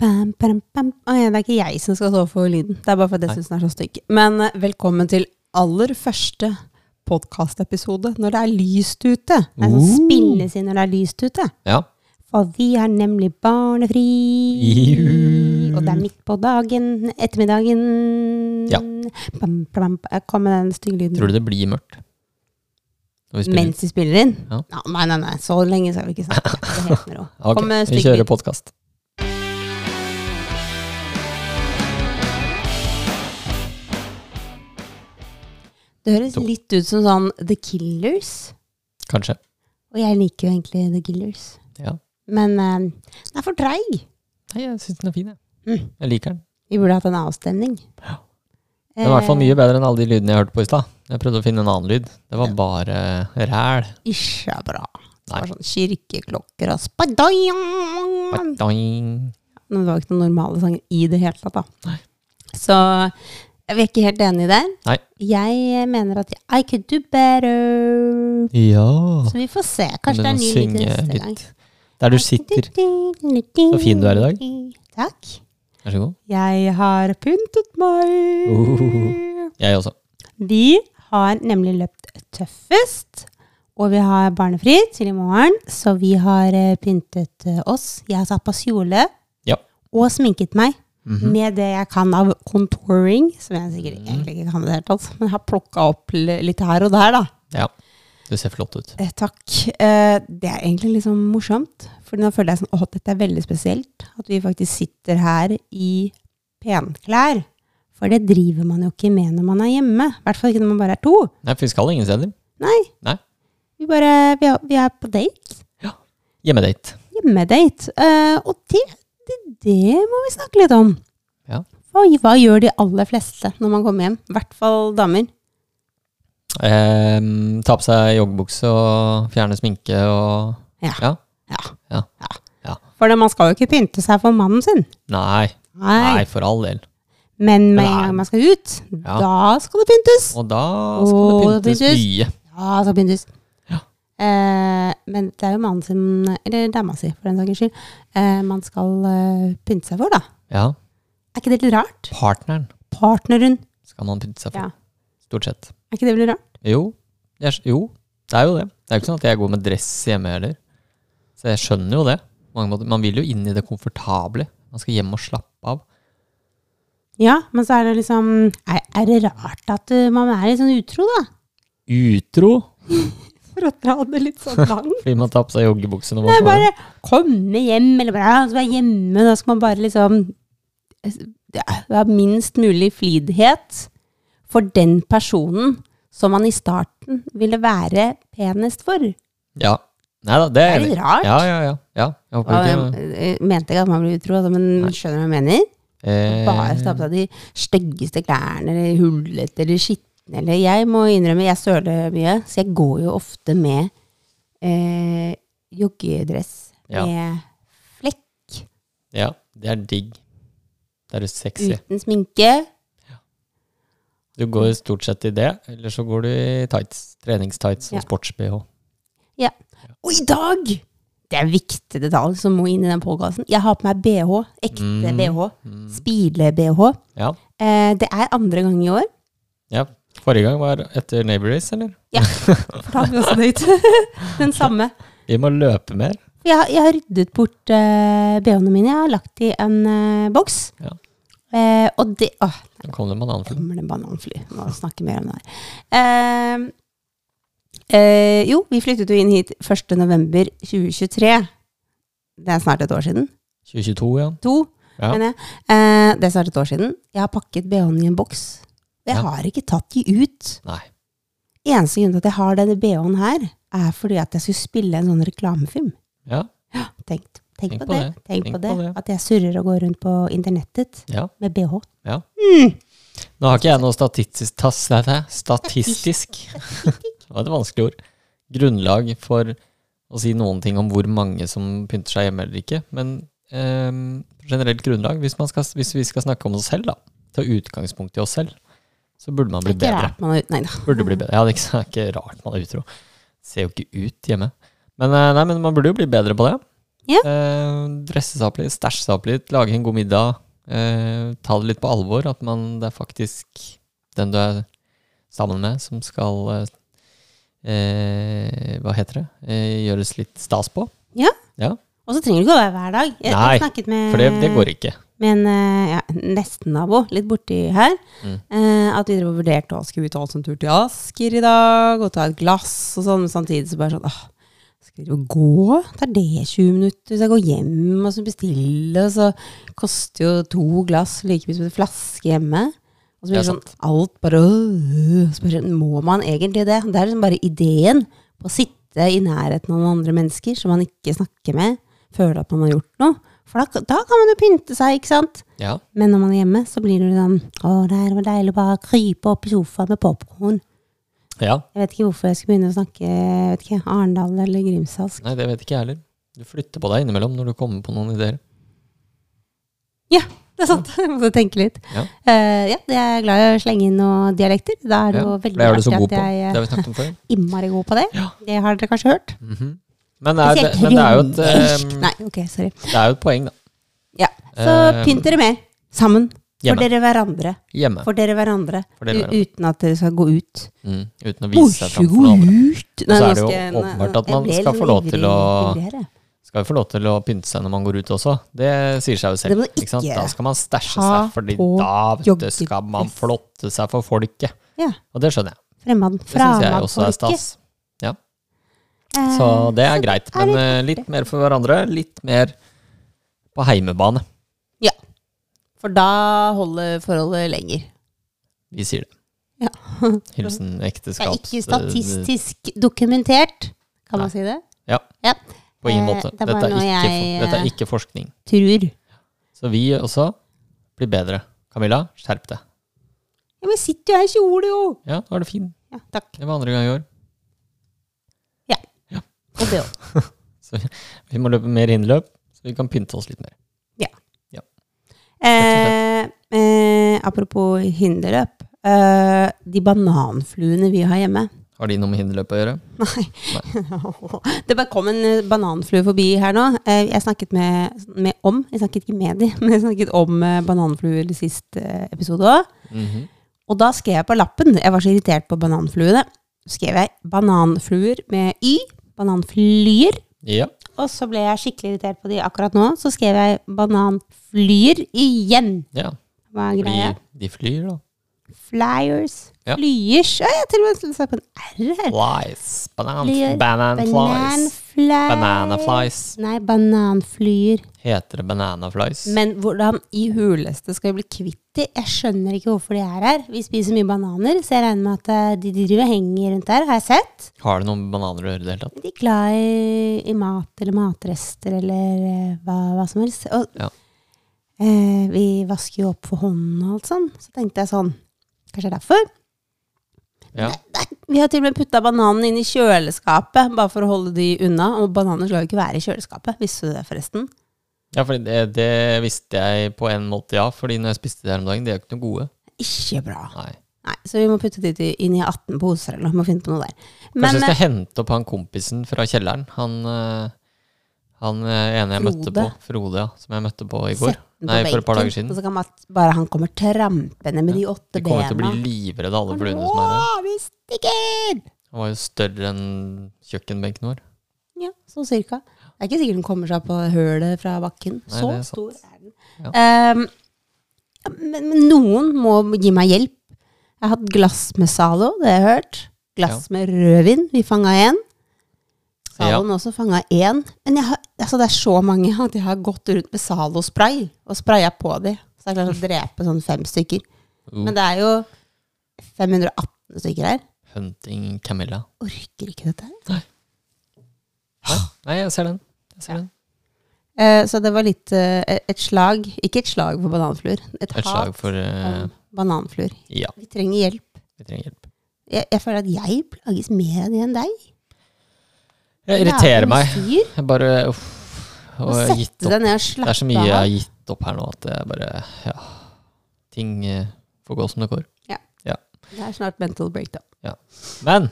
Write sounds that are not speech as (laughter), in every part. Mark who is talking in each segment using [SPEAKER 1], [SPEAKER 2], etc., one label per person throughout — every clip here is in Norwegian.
[SPEAKER 1] Bam, bam, bam. Å, ja, det er ikke jeg som skal stå for lyden. Det er bare fordi jeg syns den er så stygg. Men eh, velkommen til aller første podkastepisode når det er lyst ute. Det er sånn
[SPEAKER 2] Uh.
[SPEAKER 1] spilles inn når det er lyst ute.
[SPEAKER 2] Ja.
[SPEAKER 1] For vi er nemlig barnefri.
[SPEAKER 2] Juhu.
[SPEAKER 1] Og det er midt på dagen, ettermiddagen.
[SPEAKER 2] Ja.
[SPEAKER 1] Bam, bam, bam. Jeg kom med den stygge lyden.
[SPEAKER 2] Tror du det blir mørkt? Når vi spiller?
[SPEAKER 1] Mens vi spiller inn?
[SPEAKER 2] Ja.
[SPEAKER 1] Ja, nei, nei, nei. Så lenge skal vi ikke snakke.
[SPEAKER 2] (laughs)
[SPEAKER 1] Det er helt med ro.
[SPEAKER 2] Ok,
[SPEAKER 1] Kom med
[SPEAKER 2] vi
[SPEAKER 1] stygg
[SPEAKER 2] kjører
[SPEAKER 1] lyd.
[SPEAKER 2] podkast.
[SPEAKER 1] Det høres
[SPEAKER 2] To.
[SPEAKER 1] litt ut som sånn The Killers.
[SPEAKER 2] Kanskje.
[SPEAKER 1] Og jeg liker jo egentlig The Killers.
[SPEAKER 2] Ja.
[SPEAKER 1] Men eh, den er for treig.
[SPEAKER 2] Nei, jeg syns den er fin, jeg.
[SPEAKER 1] Mm.
[SPEAKER 2] Jeg liker den.
[SPEAKER 1] Vi burde hatt en avstemning.
[SPEAKER 2] Ja. Den er i hvert
[SPEAKER 1] Eh.
[SPEAKER 2] fall mye bedre enn alle de lydene jeg hørte på i stad. Jeg prøvde å finne en annen lyd. Det var bare ræl.
[SPEAKER 1] Eh, Ikke er bra. Det
[SPEAKER 2] Nei.
[SPEAKER 1] var sånn kirkeklokker og spadajang. Men
[SPEAKER 2] Badoing.
[SPEAKER 1] det var ikke noen normale sanger i det hele tatt, da.
[SPEAKER 2] Nei.
[SPEAKER 1] Så jeg er ikke helt enig i det.
[SPEAKER 2] Nei.
[SPEAKER 1] Jeg mener at I could do better.
[SPEAKER 2] Ja.
[SPEAKER 1] Så vi får se. Kanskje det er
[SPEAKER 2] Kan
[SPEAKER 1] en
[SPEAKER 2] du
[SPEAKER 1] ny lyd
[SPEAKER 2] synge
[SPEAKER 1] neste
[SPEAKER 2] litt?
[SPEAKER 1] gang.
[SPEAKER 2] Der du sitter.
[SPEAKER 1] Så
[SPEAKER 2] fin du er i dag.
[SPEAKER 1] Takk.
[SPEAKER 2] Vær så god.
[SPEAKER 1] Jeg har pyntet meg.
[SPEAKER 2] Ohoho. Jeg også.
[SPEAKER 1] Vi har nemlig løpt tøffest, og vi har barnefri til i morgen, så vi har eh, pyntet eh, oss. Jeg har satt på kjole
[SPEAKER 2] Ja.
[SPEAKER 1] og sminket meg med det jeg kan av contouring, som jeg sikkert egentlig ikke kan i det hele tatt, men jeg har plukka opp l- litt her og der, da.
[SPEAKER 2] Ja. Du ser flott ut.
[SPEAKER 1] Eh, Takk. Eh, Det er egentlig litt sånn morsomt, for nå føler jeg sånn, åh, dette er veldig spesielt, at vi faktisk sitter her i penklær. For det driver man jo ikke med når man er hjemme. I hvert fall ikke når man bare er to.
[SPEAKER 2] Nei, for vi skal ingen steder.
[SPEAKER 1] Nei.
[SPEAKER 2] Nei.
[SPEAKER 1] Vi, bare, vi, er, vi er på date.
[SPEAKER 2] Hjemmedate.
[SPEAKER 1] Hjemmedate. Eh, og det, det, det må vi snakke litt om.
[SPEAKER 2] Ja.
[SPEAKER 1] Hva, hva gjør de aller fleste når man kommer hjem? I hvert fall damer.
[SPEAKER 2] Eh, ta på seg joggebukse og fjerne sminke og
[SPEAKER 1] Ja.
[SPEAKER 2] ja.
[SPEAKER 1] Ja.
[SPEAKER 2] Ja.
[SPEAKER 1] Ja.
[SPEAKER 2] Ja.
[SPEAKER 1] For det- man skal jo ikke pynte seg for mannen sin.
[SPEAKER 2] Nei. Nei, for all del.
[SPEAKER 1] Men med en
[SPEAKER 2] Nei.
[SPEAKER 1] gang man skal ut,
[SPEAKER 2] Ja.
[SPEAKER 1] da skal det pyntes.
[SPEAKER 2] Og da skal det
[SPEAKER 1] Åh, det
[SPEAKER 2] pyntes
[SPEAKER 1] pyntes.
[SPEAKER 2] mye.
[SPEAKER 1] Ja, det skal pyntes.
[SPEAKER 2] Ja.
[SPEAKER 1] Eh, men det er jo mannen sin, eller dama si for den saks skyld, eh, man skal eh, pynte seg for, da.
[SPEAKER 2] Ja.
[SPEAKER 1] Er ikke det litt rart?
[SPEAKER 2] Partneren
[SPEAKER 1] Partneren,
[SPEAKER 2] skal man pynte seg for.
[SPEAKER 1] Ja.
[SPEAKER 2] Stort sett.
[SPEAKER 1] er ikke det litt rart?
[SPEAKER 2] Jo. Jeg, skj- jo, det er jo det. Det er jo ikke sånn at jeg går med dress hjemme heller. Så jeg skjønner jo det. på Mange måter. Man vil jo inn i det komfortable. Man skal hjem og slappe av.
[SPEAKER 1] Ja, men så er det liksom Er, er det rart at eh, man er litt sånn utro, da?
[SPEAKER 2] Utro
[SPEAKER 1] For å dra det litt
[SPEAKER 2] (laughs)
[SPEAKER 1] sånn langt.
[SPEAKER 2] fordi man tar på seg joggebukse når man
[SPEAKER 1] Det er
[SPEAKER 2] får den.
[SPEAKER 1] bare komme hjem, eller bare ja, så er jeg hjemme, da skal man bare liksom ja, ha minst mulig flidhet for den personen som man i starten ville være penest for.
[SPEAKER 2] Ja. Nei da, det
[SPEAKER 1] Det
[SPEAKER 2] er
[SPEAKER 1] er
[SPEAKER 2] jeg enig i.
[SPEAKER 1] litt rart.
[SPEAKER 2] Ja, ja, ja. ja. Jeg
[SPEAKER 1] Og
[SPEAKER 2] håper ikke
[SPEAKER 1] jeg jeg mente ikke at man blir utro, altså, men skjønner du hva jeg mener?
[SPEAKER 2] eh,
[SPEAKER 1] Bare ta på seg de styggeste klærne, eller hullete, eller skitne, eller Jeg må innrømme, jeg søler mye, så jeg går jo ofte med eh, joggedress
[SPEAKER 2] Ja.
[SPEAKER 1] med flekk,
[SPEAKER 2] eh, Ja, det er digg. Det er jo sexy.
[SPEAKER 1] uten sminke.
[SPEAKER 2] Du går stort sett i det, eller så går du i tights, treningstights og
[SPEAKER 1] Ja.
[SPEAKER 2] sports-BH.
[SPEAKER 1] Ja. Og i dag! Det er en viktig detalj som må inn i den podkasten. Jeg har på meg BH. Ekte
[SPEAKER 2] Mm.
[SPEAKER 1] BH. Spile-BH.
[SPEAKER 2] Ja.
[SPEAKER 1] Eh, det er andre gang i år.
[SPEAKER 2] ja. Forrige gang var etter Neighbor Race, eller?
[SPEAKER 1] Ja, fortalte vi også det ut. (laughs) Den samme.
[SPEAKER 2] Vi må løpe mer.
[SPEAKER 1] Jeg, har- jeg har ryddet bort eh, BH-ene mine. Jeg har lagt i en eh, boks.
[SPEAKER 2] Ja.
[SPEAKER 1] Eh, og det Åh,
[SPEAKER 2] Nå kom det en banan
[SPEAKER 1] nå
[SPEAKER 2] for den.
[SPEAKER 1] kommer det en bananfly. Må snakke mer om det her. Eh, eh, jo, vi flyttet jo inn hit 1. november 2023. Det er snart et år siden.
[SPEAKER 2] 2022, ja.
[SPEAKER 1] To,
[SPEAKER 2] Ja.
[SPEAKER 1] mener jeg. Eh, det er snart et år siden. Jeg har pakket BH-ene i en boks. Jeg
[SPEAKER 2] Ja.
[SPEAKER 1] har ikke tatt de ut.
[SPEAKER 2] Nei.
[SPEAKER 1] Eneste grunnen til at jeg har denne BH-en her, er fordi at jeg skulle spille en sånn reklamefilm.
[SPEAKER 2] Ja.
[SPEAKER 1] Tenk, tenk, på, det. Tenk, på, det.
[SPEAKER 2] det.
[SPEAKER 1] At jeg surrer og går rundt på internettet
[SPEAKER 2] ja.
[SPEAKER 1] med BH.
[SPEAKER 2] Ja.
[SPEAKER 1] Mm.
[SPEAKER 2] Nå har ikke jeg noe statistisk tas, nei, det er Statistisk. (laughs) det var et vanskelig ord. Grunnlag for å si noen ting om hvor mange som pynter seg hjemme eller ikke. Men ehm, generelt grunnlag, hvis, man skal, hvis vi skal snakke om oss selv, da, ta utgangspunkt i oss selv, så burde man bli
[SPEAKER 1] Ikke
[SPEAKER 2] bedre.
[SPEAKER 1] rart man er ut... Nei da.
[SPEAKER 2] Burde bli bedre. Ja, det er ikke, så- (laughs) det er ikke rart man er utro. Ser jo ikke ut hjemme. Men, eh, nei, men man burde jo bli bedre på det.
[SPEAKER 1] Ja.
[SPEAKER 2] Eh, dresse seg opp litt, stæsje seg opp litt, lage en god middag. Eh, ta det litt på alvor, at man, det er faktisk den du er sammen med, som skal eh, eh, Hva heter det? Eh, gjøres litt stas på.
[SPEAKER 1] Ja.
[SPEAKER 2] Ja,
[SPEAKER 1] Og så trenger det ikke å være hver dag. Jeg,
[SPEAKER 2] Nei,
[SPEAKER 1] jeg snakket med,
[SPEAKER 2] For det, det går ikke.
[SPEAKER 1] med en eh, ja, nesten-nabo litt borti her.
[SPEAKER 2] Mm.
[SPEAKER 1] eh, at vi drev og vurderte å skulle vi ta oss en tur til Asker i dag, og ta et glass og sånn. Men samtidig så bare sånn åh, Skal vi jo gå? Tar det 20 minutter? Så jeg går hjem og så bestiller, og så koster jo to glass like mye som en flaske hjemme. Og så blir
[SPEAKER 2] Det er
[SPEAKER 1] det sånn alt bare øh, så bare, Må man egentlig det? Det er liksom bare ideen på å sitte i nærheten av noen andre mennesker som man ikke snakker med, føle at man har gjort noe. For da, da kan man jo pynte seg, ikke sant?
[SPEAKER 2] Ja.
[SPEAKER 1] Men når man er hjemme, så blir det sånn Å, der var deilig å bare krype opp i sofaen med popkorn.
[SPEAKER 2] ja.
[SPEAKER 1] Jeg vet ikke hvorfor jeg skulle begynne å snakke jeg vet ikke, Arendal eller Grimsalsk.
[SPEAKER 2] Nei, det vet ikke jeg heller. Du flytter på deg innimellom når du kommer på noen ideer.
[SPEAKER 1] Ja, det er sant. (laughs) Jeg måtte tenke litt.
[SPEAKER 2] Ja.
[SPEAKER 1] Eh, ja, jeg er glad i å slenge inn noen dialekter. Da er det jo
[SPEAKER 2] Ja, for
[SPEAKER 1] veldig
[SPEAKER 2] det er du så
[SPEAKER 1] artig at
[SPEAKER 2] god på. Det
[SPEAKER 1] jeg
[SPEAKER 2] har
[SPEAKER 1] er
[SPEAKER 2] vi snakket om før.
[SPEAKER 1] innmari god på det.
[SPEAKER 2] Ja.
[SPEAKER 1] Det har dere kanskje hørt?
[SPEAKER 2] Mhm. men, det er, men det er
[SPEAKER 1] (laughs)
[SPEAKER 2] jo et,
[SPEAKER 1] Spesielt
[SPEAKER 2] eh,
[SPEAKER 1] Nei, ok, sorry.
[SPEAKER 2] det er jo et poeng, da.
[SPEAKER 1] Ja. Så
[SPEAKER 2] Eh,
[SPEAKER 1] pynt dere mer. Sammen. For
[SPEAKER 2] Hjemme.
[SPEAKER 1] dere hverandre.
[SPEAKER 2] Hjemme.
[SPEAKER 1] For dere hverandre.
[SPEAKER 2] For dere
[SPEAKER 1] U-
[SPEAKER 2] hverandre.
[SPEAKER 1] Uten at dere skal gå ut.
[SPEAKER 2] Mm, uten å
[SPEAKER 1] Må
[SPEAKER 2] vise seg
[SPEAKER 1] ikke
[SPEAKER 2] framfor
[SPEAKER 1] gå
[SPEAKER 2] noen andre.
[SPEAKER 1] ut!
[SPEAKER 2] Og så
[SPEAKER 1] nå
[SPEAKER 2] er det jo
[SPEAKER 1] skal jeg- nå-
[SPEAKER 2] åpenbart at
[SPEAKER 1] jeg
[SPEAKER 2] man
[SPEAKER 1] ble
[SPEAKER 2] skal
[SPEAKER 1] litt
[SPEAKER 2] få lov til
[SPEAKER 1] ivrig-
[SPEAKER 2] å-
[SPEAKER 1] ivrigere.
[SPEAKER 2] Skal jo få lov til å pynte seg når man går ut også. Det sier seg jo
[SPEAKER 1] Det
[SPEAKER 2] selv.
[SPEAKER 1] må du
[SPEAKER 2] Ikke sant?
[SPEAKER 1] ikke
[SPEAKER 2] Da skal man stæsje
[SPEAKER 1] ta
[SPEAKER 2] seg, fordi
[SPEAKER 1] på
[SPEAKER 2] da vet du, skal man
[SPEAKER 1] joggedress.
[SPEAKER 2] flotte seg for folket.
[SPEAKER 1] Ja.
[SPEAKER 2] Og det skjønner jeg.
[SPEAKER 1] Fremad.
[SPEAKER 2] Det syns jeg
[SPEAKER 1] Fremad
[SPEAKER 2] også er
[SPEAKER 1] folket.
[SPEAKER 2] stas. Så det er greit.
[SPEAKER 1] det er
[SPEAKER 2] Men
[SPEAKER 1] litt
[SPEAKER 2] eh, litt mer for hverandre, litt mer på heimebane.
[SPEAKER 1] For da holder forholdet lenger.
[SPEAKER 2] Vi sier det.
[SPEAKER 1] Ja.
[SPEAKER 2] Hilsen
[SPEAKER 1] Det er
[SPEAKER 2] ekteskaps...
[SPEAKER 1] ikke statistisk dokumentert, kan man
[SPEAKER 2] Nei.
[SPEAKER 1] si det?
[SPEAKER 2] På ingen
[SPEAKER 1] eh,
[SPEAKER 2] måte.
[SPEAKER 1] det er
[SPEAKER 2] Dette
[SPEAKER 1] bare
[SPEAKER 2] er,
[SPEAKER 1] noe
[SPEAKER 2] ikke,
[SPEAKER 1] jeg,
[SPEAKER 2] for- dette
[SPEAKER 1] eh,
[SPEAKER 2] er ikke forskning.
[SPEAKER 1] Tror.
[SPEAKER 2] Så vi også blir bedre. Camilla, skjerp deg.
[SPEAKER 1] Ja, men sitter jo her i kjole, jo!
[SPEAKER 2] Ja, nå er du fin.
[SPEAKER 1] Ja, takk.
[SPEAKER 2] Det var andre gang i år.
[SPEAKER 1] Og det også.
[SPEAKER 2] Vi må løpe mer innløp, så vi kan pynte oss litt mer.
[SPEAKER 1] Eh, eh, apropos hinderløp. Eh, de bananfluene vi har hjemme (laughs)
[SPEAKER 2] Har de noe med hinderløp å gjøre?
[SPEAKER 1] Det bare kom en eh, bananflue forbi her nå. Eh, jeg snakket med, med om Jeg snakket ikke med de, (laughs) men jeg snakket om eh, bananfluer i siste eh, episode òg.
[SPEAKER 2] Mhm.
[SPEAKER 1] Og da skrev jeg på lappen, jeg var så irritert på bananfluene, så skrev jeg bananfluer med y, bananflyer,
[SPEAKER 2] Ja.
[SPEAKER 1] og så ble jeg skikkelig irritert på de akkurat nå, så skrev jeg bananflyer igjen.
[SPEAKER 2] ja.
[SPEAKER 1] Hva er greia?
[SPEAKER 2] Fordi de flyr, da.
[SPEAKER 1] Flyers,
[SPEAKER 2] Ja.
[SPEAKER 1] flyers, ja, jeg til og med sa på en R her.
[SPEAKER 2] Flies. Banan,
[SPEAKER 1] Flyr.
[SPEAKER 2] banan flies.
[SPEAKER 1] Bananfly.
[SPEAKER 2] Banana flies.
[SPEAKER 1] Nei, bananflyer.
[SPEAKER 2] Heter det banana flies?
[SPEAKER 1] Men hvordan i huleste skal vi bli kvitt de? Jeg skjønner ikke hvorfor de er her. Vi spiser mye bananer, så jeg regner med at eh, de driver og henger rundt der, har jeg sett.
[SPEAKER 2] Har det noen med bananer å gjøre i det hele tatt?
[SPEAKER 1] Er de glad i, i mat eller matrester eller eh, hva, hva som helst? Og,
[SPEAKER 2] Ja.
[SPEAKER 1] eh, vi vasker jo opp for hånden og alt sånn. Så tenkte jeg sånn, kanskje det er derfor?
[SPEAKER 2] Ja.
[SPEAKER 1] Nei, vi har til og med putta bananen inn i kjøleskapet, bare for å holde de unna. Og bananer skal jo ikke være i kjøleskapet, visste du det forresten?
[SPEAKER 2] ja, for det, det visste jeg på en måte, ja. Fordi når jeg spiste det her om dagen, de er jo ikke noe gode.
[SPEAKER 1] Ikke bra.
[SPEAKER 2] Nei.
[SPEAKER 1] Nei, så vi må putte de til- inn i 18 poser eller noe, må finne på noe der.
[SPEAKER 2] Kanskje
[SPEAKER 1] Men eh,
[SPEAKER 2] jeg skal hente opp han kompisen fra kjelleren. Han, eh, han eh, ene jeg møtte på.
[SPEAKER 1] Frode.
[SPEAKER 2] Frode, ja. Som jeg møtte på i
[SPEAKER 1] Sett
[SPEAKER 2] går.
[SPEAKER 1] den på
[SPEAKER 2] Nei, for et
[SPEAKER 1] benken,
[SPEAKER 2] par dager siden.
[SPEAKER 1] Og så kan man bare han kommer trampende med de åtte
[SPEAKER 2] De kommer til å bli
[SPEAKER 1] bena.
[SPEAKER 2] livredde, alle fluene som er her.
[SPEAKER 1] Nå, vi stikker!
[SPEAKER 2] Han var jo større enn kjøkkenbenken vår.
[SPEAKER 1] Ja, sånn cirka. Det er ikke sikkert den kommer seg på hølet fra bakken.
[SPEAKER 2] Nei,
[SPEAKER 1] så
[SPEAKER 2] det er sant.
[SPEAKER 1] stor er den. Ehm, ja, men, men noen må gi meg hjelp. Jeg har hatt glass med Zalo, det har jeg hørt. Glass med rødvin, vi fanga én. Zaloen også fanga én. Men jeg har, altså det er så mange (laughs) at jeg har gått rundt med Zalo-spray og spraya på de. Så jeg har klart å drepe sånn fem stykker.
[SPEAKER 2] Uh.
[SPEAKER 1] Men det er jo 518 stykker her.
[SPEAKER 2] Hunting Camilla.
[SPEAKER 1] Orker ikke dette her.
[SPEAKER 2] Nei, nei jeg ser den. Jeg ser den.
[SPEAKER 1] Eh, Så det var litt eh, et slag Ikke et slag for bananfluer. Et,
[SPEAKER 2] Et slag
[SPEAKER 1] hat
[SPEAKER 2] for eh,
[SPEAKER 1] om bananfluer.
[SPEAKER 2] Ja,
[SPEAKER 1] Vi trenger hjelp.
[SPEAKER 2] vi trenger hjelp.
[SPEAKER 1] Jeg, jeg føler at jeg plages mer av det enn deg.
[SPEAKER 2] Jeg irriterer meg.
[SPEAKER 1] Styr.
[SPEAKER 2] Jeg bare uff. Og jeg har gitt
[SPEAKER 1] Sette
[SPEAKER 2] opp.
[SPEAKER 1] deg ned og
[SPEAKER 2] Det
[SPEAKER 1] slappe
[SPEAKER 2] er så mye jeg
[SPEAKER 1] av.
[SPEAKER 2] har gitt opp her nå at jeg bare Ja. Ting eh, får gå som det går.
[SPEAKER 1] Det er snart mental breakdown.
[SPEAKER 2] Men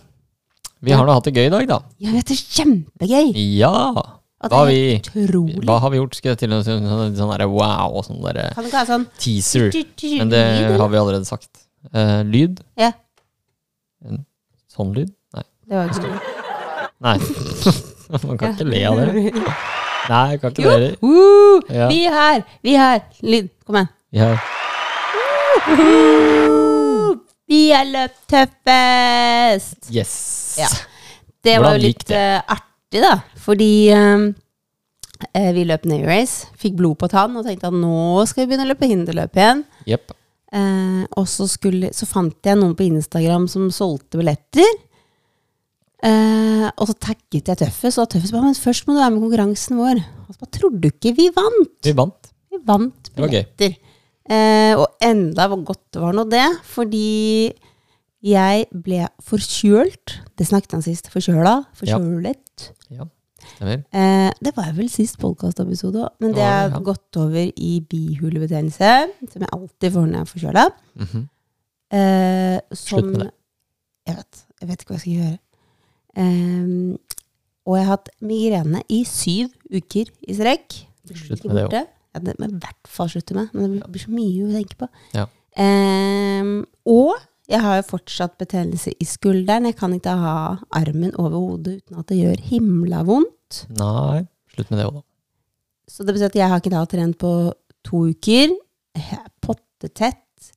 [SPEAKER 2] vi har nå hatt det gøy i dag, da.
[SPEAKER 1] Ja, dette er kjempegøy!
[SPEAKER 2] Ja!
[SPEAKER 1] Og
[SPEAKER 2] Hva har
[SPEAKER 1] det er
[SPEAKER 2] vi-
[SPEAKER 1] utrolig.
[SPEAKER 2] Hva har vi gjort? Skal jeg til og med si sånn sånn derre wow og sånn derre
[SPEAKER 1] Kan du ikke ha sånn
[SPEAKER 2] teaser.
[SPEAKER 1] tut-tut-tut-lyd,
[SPEAKER 2] Men det
[SPEAKER 1] eller?
[SPEAKER 2] har vi allerede sagt. Eh, lyd?
[SPEAKER 1] Ja.
[SPEAKER 2] En sånn lyd? Nei.
[SPEAKER 1] Det var ikke det.
[SPEAKER 2] Nei. (laughs) Man kan ikke le av det. Nei, jeg kan
[SPEAKER 1] Jo.
[SPEAKER 2] ikke det. heller.
[SPEAKER 1] Uh,
[SPEAKER 2] Ja.
[SPEAKER 1] Vi har, vi har lyd. Kom igjen.
[SPEAKER 2] Ja.
[SPEAKER 1] Uh, vi har løpt tøffest!
[SPEAKER 2] Yes.
[SPEAKER 1] Ja. Det var
[SPEAKER 2] Hvordan
[SPEAKER 1] jo
[SPEAKER 2] gikk
[SPEAKER 1] litt
[SPEAKER 2] det?
[SPEAKER 1] eh, artig, da. Fordi eh, eh, vi løp Navy Race, fikk blod på tann og tenkte at nå skal vi begynne å løpe hinderløp igjen.
[SPEAKER 2] Jepp.
[SPEAKER 1] Eh, og så, skulle, så fant jeg noen på Instagram som solgte billetter. Eh, og så tagget jeg Tøffes, og Tøffes ba, men først må du være med i konkurransen vår. Og så bare, tror du ikke vi vant?
[SPEAKER 2] Vi vant.
[SPEAKER 1] Vi vant
[SPEAKER 2] var gøy.
[SPEAKER 1] billetter. Eh, og enda hvor godt det var nå det, fordi jeg ble forkjølt. Det snakket han sist. Forkjøla. Forkjølet.
[SPEAKER 2] Ja, stemmer.
[SPEAKER 1] Eh, det var vel sist podkastepisode òg, men det
[SPEAKER 2] Ja,
[SPEAKER 1] er
[SPEAKER 2] ja.
[SPEAKER 1] gått over i bihulebetennelse, som jeg alltid får når jeg er forkjøla.
[SPEAKER 2] Mhm.
[SPEAKER 1] Eh, som,
[SPEAKER 2] Slutt med det.
[SPEAKER 1] Jeg vet, jeg vet ikke hva jeg skal gjøre. Ehm, og jeg har hatt migrene i syv uker i strekk.
[SPEAKER 2] Slutt med det
[SPEAKER 1] òg. Ja, det må jeg i hvert fall slutte med. Men det blir så mye å tenke på.
[SPEAKER 2] Ja.
[SPEAKER 1] Ehm, og jeg har jo fortsatt betennelse i skulderen. Jeg kan ikke ha armen over hodet uten at det gjør himla vondt.
[SPEAKER 2] Nei, slutt med det òg, da.
[SPEAKER 1] Så det betyr at jeg har ikke da trent på to uker. Jeg er pottetett.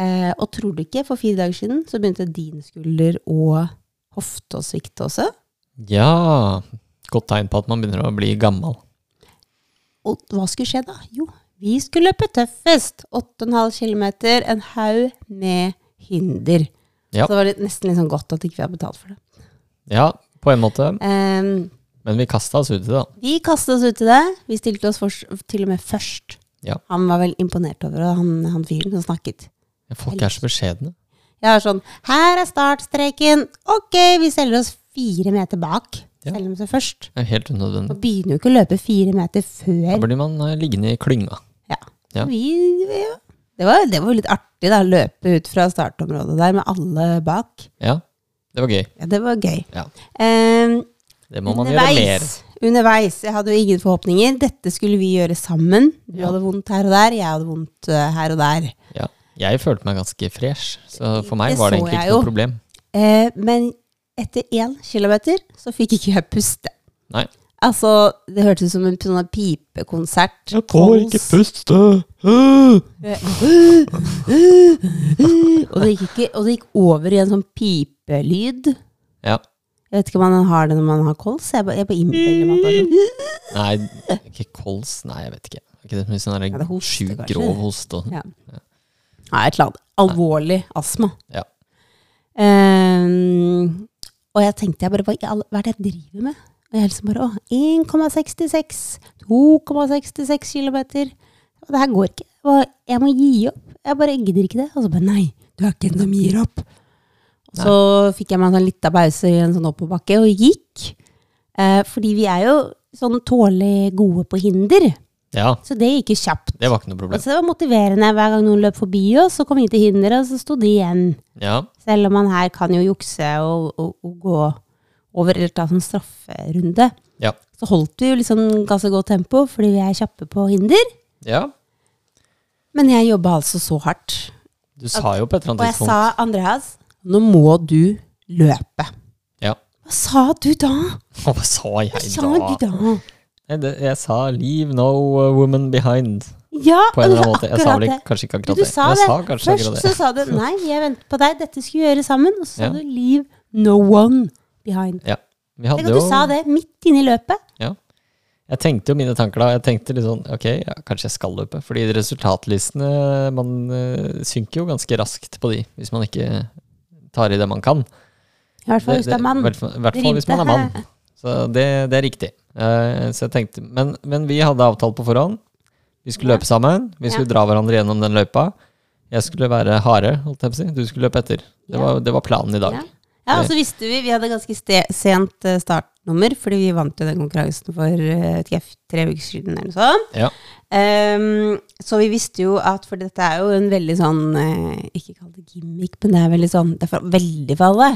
[SPEAKER 1] Eh, og tror du ikke, for fire dager siden så begynte din skulder og hofte å svikte også.
[SPEAKER 2] Ja. Godt tegn på at man begynner å bli gammel.
[SPEAKER 1] Og hva skulle skje da? Jo, vi skulle løpe tøffest. 8,5 km, en haug med hinder.
[SPEAKER 2] Ja.
[SPEAKER 1] Så det var litt, nesten litt sånn godt at ikke vi har betalt for det.
[SPEAKER 2] Ja, på en måte.
[SPEAKER 1] Ehm,
[SPEAKER 2] Men vi kasta oss ut i det, da.
[SPEAKER 1] vi kastet oss ut i det. Vi stilte oss først- til og med først.
[SPEAKER 2] Ja.
[SPEAKER 1] Han var vel imponert over det, han, han fyren som snakket.
[SPEAKER 2] Folk er så beskjedne.
[SPEAKER 1] Jeg er sånn Her er startstreken. Ok, vi selger oss fire meter bak.
[SPEAKER 2] Ja.
[SPEAKER 1] Selger de seg først.
[SPEAKER 2] Det er helt unødvendig.
[SPEAKER 1] Og begynner jo ikke å løpe fire meter
[SPEAKER 2] Da
[SPEAKER 1] før.
[SPEAKER 2] blir man eh, liggende i klynga.
[SPEAKER 1] Ja.
[SPEAKER 2] Ja.
[SPEAKER 1] Vi, ja. Det, var, det var jo litt artig, da. Løpe ut fra startområdet der med alle bak.
[SPEAKER 2] Ja, det var gøy.
[SPEAKER 1] Ja, det var gøy.
[SPEAKER 2] Ja.
[SPEAKER 1] Eh,
[SPEAKER 2] Det må man gjøre mer.
[SPEAKER 1] underveis, underveis. Jeg hadde jo ingen forhåpninger. Dette skulle vi gjøre sammen. Du hadde vondt her og der, jeg hadde vondt eh, her og der.
[SPEAKER 2] Ja. Jeg følte meg ganske fresh, så for meg
[SPEAKER 1] Det
[SPEAKER 2] var det
[SPEAKER 1] så
[SPEAKER 2] egentlig
[SPEAKER 1] jeg
[SPEAKER 2] ikke
[SPEAKER 1] jo.
[SPEAKER 2] noe problem.
[SPEAKER 1] Eh, men etter én kilometer så fikk ikke jeg puste.
[SPEAKER 2] Nei.
[SPEAKER 1] Altså, det hørtes ut som en sånn pipekonsert. Kols.
[SPEAKER 2] puste!
[SPEAKER 1] Og det, gikk ikke, og det gikk over i en sånn pipelyd.
[SPEAKER 2] Ja.
[SPEAKER 1] Jeg vet ikke om man har det når man har kols. Jeg bare, jeg bare innbiller meg at det. er sånn.
[SPEAKER 2] Nei, ikke kols. Nei, jeg vet ikke. Er ikke det mye sånn
[SPEAKER 1] Ja,
[SPEAKER 2] der
[SPEAKER 1] det hoster
[SPEAKER 2] sjuk,
[SPEAKER 1] kanskje.
[SPEAKER 2] grov hoste og sånn?
[SPEAKER 1] Ja. Nei, et eller annet. Alvorlig astma.
[SPEAKER 2] Ja.
[SPEAKER 1] Ehm, og jeg tenkte jeg bare, hva, i all- hva er det jeg driver med? Og jeg liksom bare, å, 1,66, 2,66 kilometer. Og det her går ikke. Og jeg må gi opp. Jeg bare gidder ikke det. Og så bare, nei, du er ikke en som gir opp. Og så fikk jeg meg en sånn liten pause i en sånn oppoverbakke og gikk. Eh, fordi vi er jo sånn tålig gode på hinder.
[SPEAKER 2] ja.
[SPEAKER 1] Så det gikk jo kjapt.
[SPEAKER 2] Det var ikke noe
[SPEAKER 1] Og
[SPEAKER 2] problem.
[SPEAKER 1] så det var motiverende hver gang noen løp forbi oss, så kom vi til hinderet, og så sto de igjen.
[SPEAKER 2] Ja.
[SPEAKER 1] Selv om man her kan jo jukse og, og, og gå over eller ta sånn strafferunde,
[SPEAKER 2] Ja.
[SPEAKER 1] så holdt vi jo liksom ganske godt tempo fordi vi er kjappe på hinder.
[SPEAKER 2] ja.
[SPEAKER 1] Men jeg jobba altså så hardt.
[SPEAKER 2] Du sa jo på et eller
[SPEAKER 1] Og
[SPEAKER 2] annet
[SPEAKER 1] jeg sa
[SPEAKER 2] tidspunkt
[SPEAKER 1] Andreas, nå må du løpe.
[SPEAKER 2] Ja. (laughs)
[SPEAKER 1] Hva sa du da?
[SPEAKER 2] Og Hva sa
[SPEAKER 1] Hva
[SPEAKER 2] jeg
[SPEAKER 1] sa du
[SPEAKER 2] da?
[SPEAKER 1] da?
[SPEAKER 2] Nei, det- Jeg sa 'leave no uh, woman behind'.
[SPEAKER 1] Ja,
[SPEAKER 2] På en
[SPEAKER 1] og
[SPEAKER 2] eller
[SPEAKER 1] det
[SPEAKER 2] annen
[SPEAKER 1] var
[SPEAKER 2] måte. Jeg sa
[SPEAKER 1] akkurat
[SPEAKER 2] vel
[SPEAKER 1] det.
[SPEAKER 2] ikke- kanskje ikke
[SPEAKER 1] Du,
[SPEAKER 2] akkurat
[SPEAKER 1] du
[SPEAKER 2] det.
[SPEAKER 1] sa
[SPEAKER 2] Men
[SPEAKER 1] det.
[SPEAKER 2] jeg sa kanskje
[SPEAKER 1] Først
[SPEAKER 2] akkurat
[SPEAKER 1] så
[SPEAKER 2] det.
[SPEAKER 1] sa du nei, jeg venter på deg, dette skulle vi gjøre sammen. Og så sa
[SPEAKER 2] Ja.
[SPEAKER 1] du leave no one behind.
[SPEAKER 2] Ja. Vi
[SPEAKER 1] Tenk
[SPEAKER 2] hadde
[SPEAKER 1] at du
[SPEAKER 2] jo
[SPEAKER 1] sa det midt inne i løpet.
[SPEAKER 2] Ja. Jeg tenkte jo mine tanker da. Jeg tenkte litt sånn Ok, ja, kanskje jeg skal løpe. Fordi resultatlistene Man eh, synker jo ganske raskt på de hvis man ikke tar i det man kan.
[SPEAKER 1] I hvert fall hvis du er mann.
[SPEAKER 2] I hvert fall- i hvert fall hvis man er mann. (laughs) Så det, det er riktig. Eh, så jeg tenkte men, men vi hadde avtalt på forhånd. Vi skulle
[SPEAKER 1] Ja.
[SPEAKER 2] løpe sammen. Vi skulle
[SPEAKER 1] Ja.
[SPEAKER 2] dra hverandre gjennom den løypa. Jeg skulle være harde, holdt jeg på å si. Du skulle løpe etter. Det
[SPEAKER 1] Ja.
[SPEAKER 2] var, det var planen i dag.
[SPEAKER 1] Ja. Ja, og så visste vi Vi hadde ganske ste sent eh, startnummer, fordi vi vant jo den konkurransen for eh, tre, tre uker siden eller noe sånt.
[SPEAKER 2] Ja.
[SPEAKER 1] Ehm, så vi visste jo at For dette er jo en veldig sånn eh, Ikke kall det gimmick, men det er veldig sånn Det er for, veldig for alle.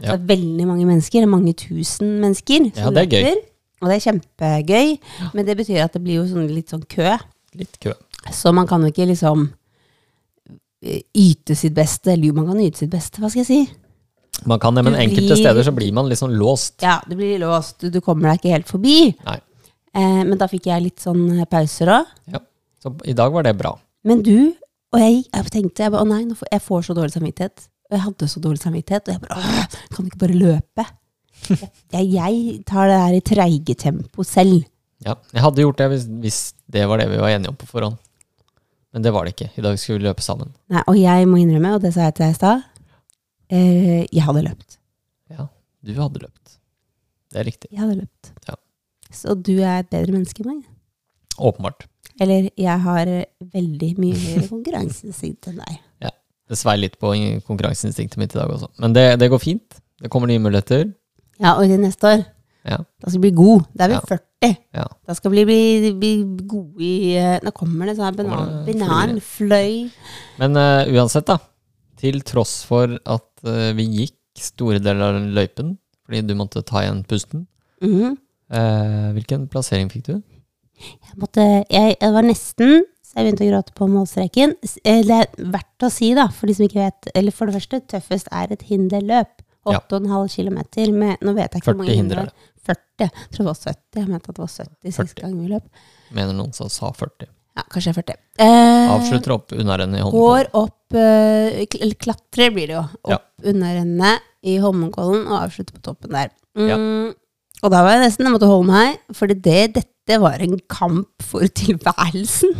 [SPEAKER 2] Ja.
[SPEAKER 1] Det er veldig mange mennesker. Mange tusen mennesker.
[SPEAKER 2] Ja, det er gøy.
[SPEAKER 1] løper. Og det er kjempegøy, men det betyr at det blir jo sånn, litt sånn kø.
[SPEAKER 2] Litt kø.
[SPEAKER 1] Så man kan jo ikke liksom eh, yte sitt beste. Eller jo, man kan yte sitt beste, hva skal jeg si?
[SPEAKER 2] Man kan det, men
[SPEAKER 1] Du
[SPEAKER 2] enkelte
[SPEAKER 1] blir-
[SPEAKER 2] steder så blir man litt sånn låst.
[SPEAKER 1] Ja, du blir låst, du, du kommer deg ikke helt forbi.
[SPEAKER 2] Nei.
[SPEAKER 1] Eh, men da fikk jeg litt sånn eh, pauser òg.
[SPEAKER 2] Ja. Så i dag var det bra.
[SPEAKER 1] Men du, og jeg, gikk- jeg tenkte, jeg bare, å nei, nå får, jeg får så dårlig samvittighet. Og jeg hadde så dårlig samvittighet, og jeg bare, åh, kan du ikke bare
[SPEAKER 2] (laughs)
[SPEAKER 1] løpe? Jeg, jeg tar det her i treige tempo selv.
[SPEAKER 2] Ja. Jeg hadde gjort det hvis, hvis det var det vi var enige om på forhånd. Men det var det ikke. I dag skulle vi løpe sammen.
[SPEAKER 1] Nei, og jeg må innrømme, og det sa jeg til deg i stad, eh, jeg hadde løpt.
[SPEAKER 2] Ja, du hadde løpt. Det er riktig.
[SPEAKER 1] Jeg hadde løpt.
[SPEAKER 2] Ja.
[SPEAKER 1] Så du er et bedre menneske enn meg.
[SPEAKER 2] Åpenbart.
[SPEAKER 1] Eller jeg har eh, veldig mye
[SPEAKER 2] (laughs)
[SPEAKER 1] høyere konkurranseinstinkt enn deg.
[SPEAKER 2] Det svei litt på in- konkurranseinstinktet mitt i dag også. Men det, det går fint. Det kommer nye muligheter.
[SPEAKER 1] Ja, og i neste år,
[SPEAKER 2] Ja.
[SPEAKER 1] da skal vi bli god. Da er vi
[SPEAKER 2] Ja.
[SPEAKER 1] 40.
[SPEAKER 2] ja.
[SPEAKER 1] Da skal vi bli, bli gode i eh, Nå kommer det sånn her banan,
[SPEAKER 2] Kommer det
[SPEAKER 1] banan, fløy
[SPEAKER 2] Men eh, uansett, da. Til tross for at eh, vi gikk store deler av løypen fordi du måtte ta igjen pusten.
[SPEAKER 1] Mhm.
[SPEAKER 2] Eh, hvilken plassering fikk du?
[SPEAKER 1] jeg, måtte, jeg, jeg var nesten, så jeg begynte å gråte på målstreken. S- eh, Det er verdt å si, da, for de som ikke vet Eller for det første, tøffest er et hinderløp.
[SPEAKER 2] Ja.
[SPEAKER 1] 8,5 km med Nå vet jeg ikke
[SPEAKER 2] 40
[SPEAKER 1] hvor mange
[SPEAKER 2] hinder
[SPEAKER 1] hinder. det er. 40. Jeg tror det var 70. Jeg mente at det var 70 siste
[SPEAKER 2] 40.
[SPEAKER 1] gang vi løp.
[SPEAKER 2] Mener noen som sa 40.
[SPEAKER 1] Ja, kanskje 40. Eh,
[SPEAKER 2] Avslutter opp unnaren i hånden.
[SPEAKER 1] Går opp eh, kl- Eller klatrer blir det jo.
[SPEAKER 2] Ja.
[SPEAKER 1] Opp under henne i Holmenkollen og avslutter på toppen der. Mm.
[SPEAKER 2] Ja.
[SPEAKER 1] Og da var jeg nesten Jeg måtte holde meg, for det, dette var en kamp for
[SPEAKER 2] (laughs)
[SPEAKER 1] tilværelsen.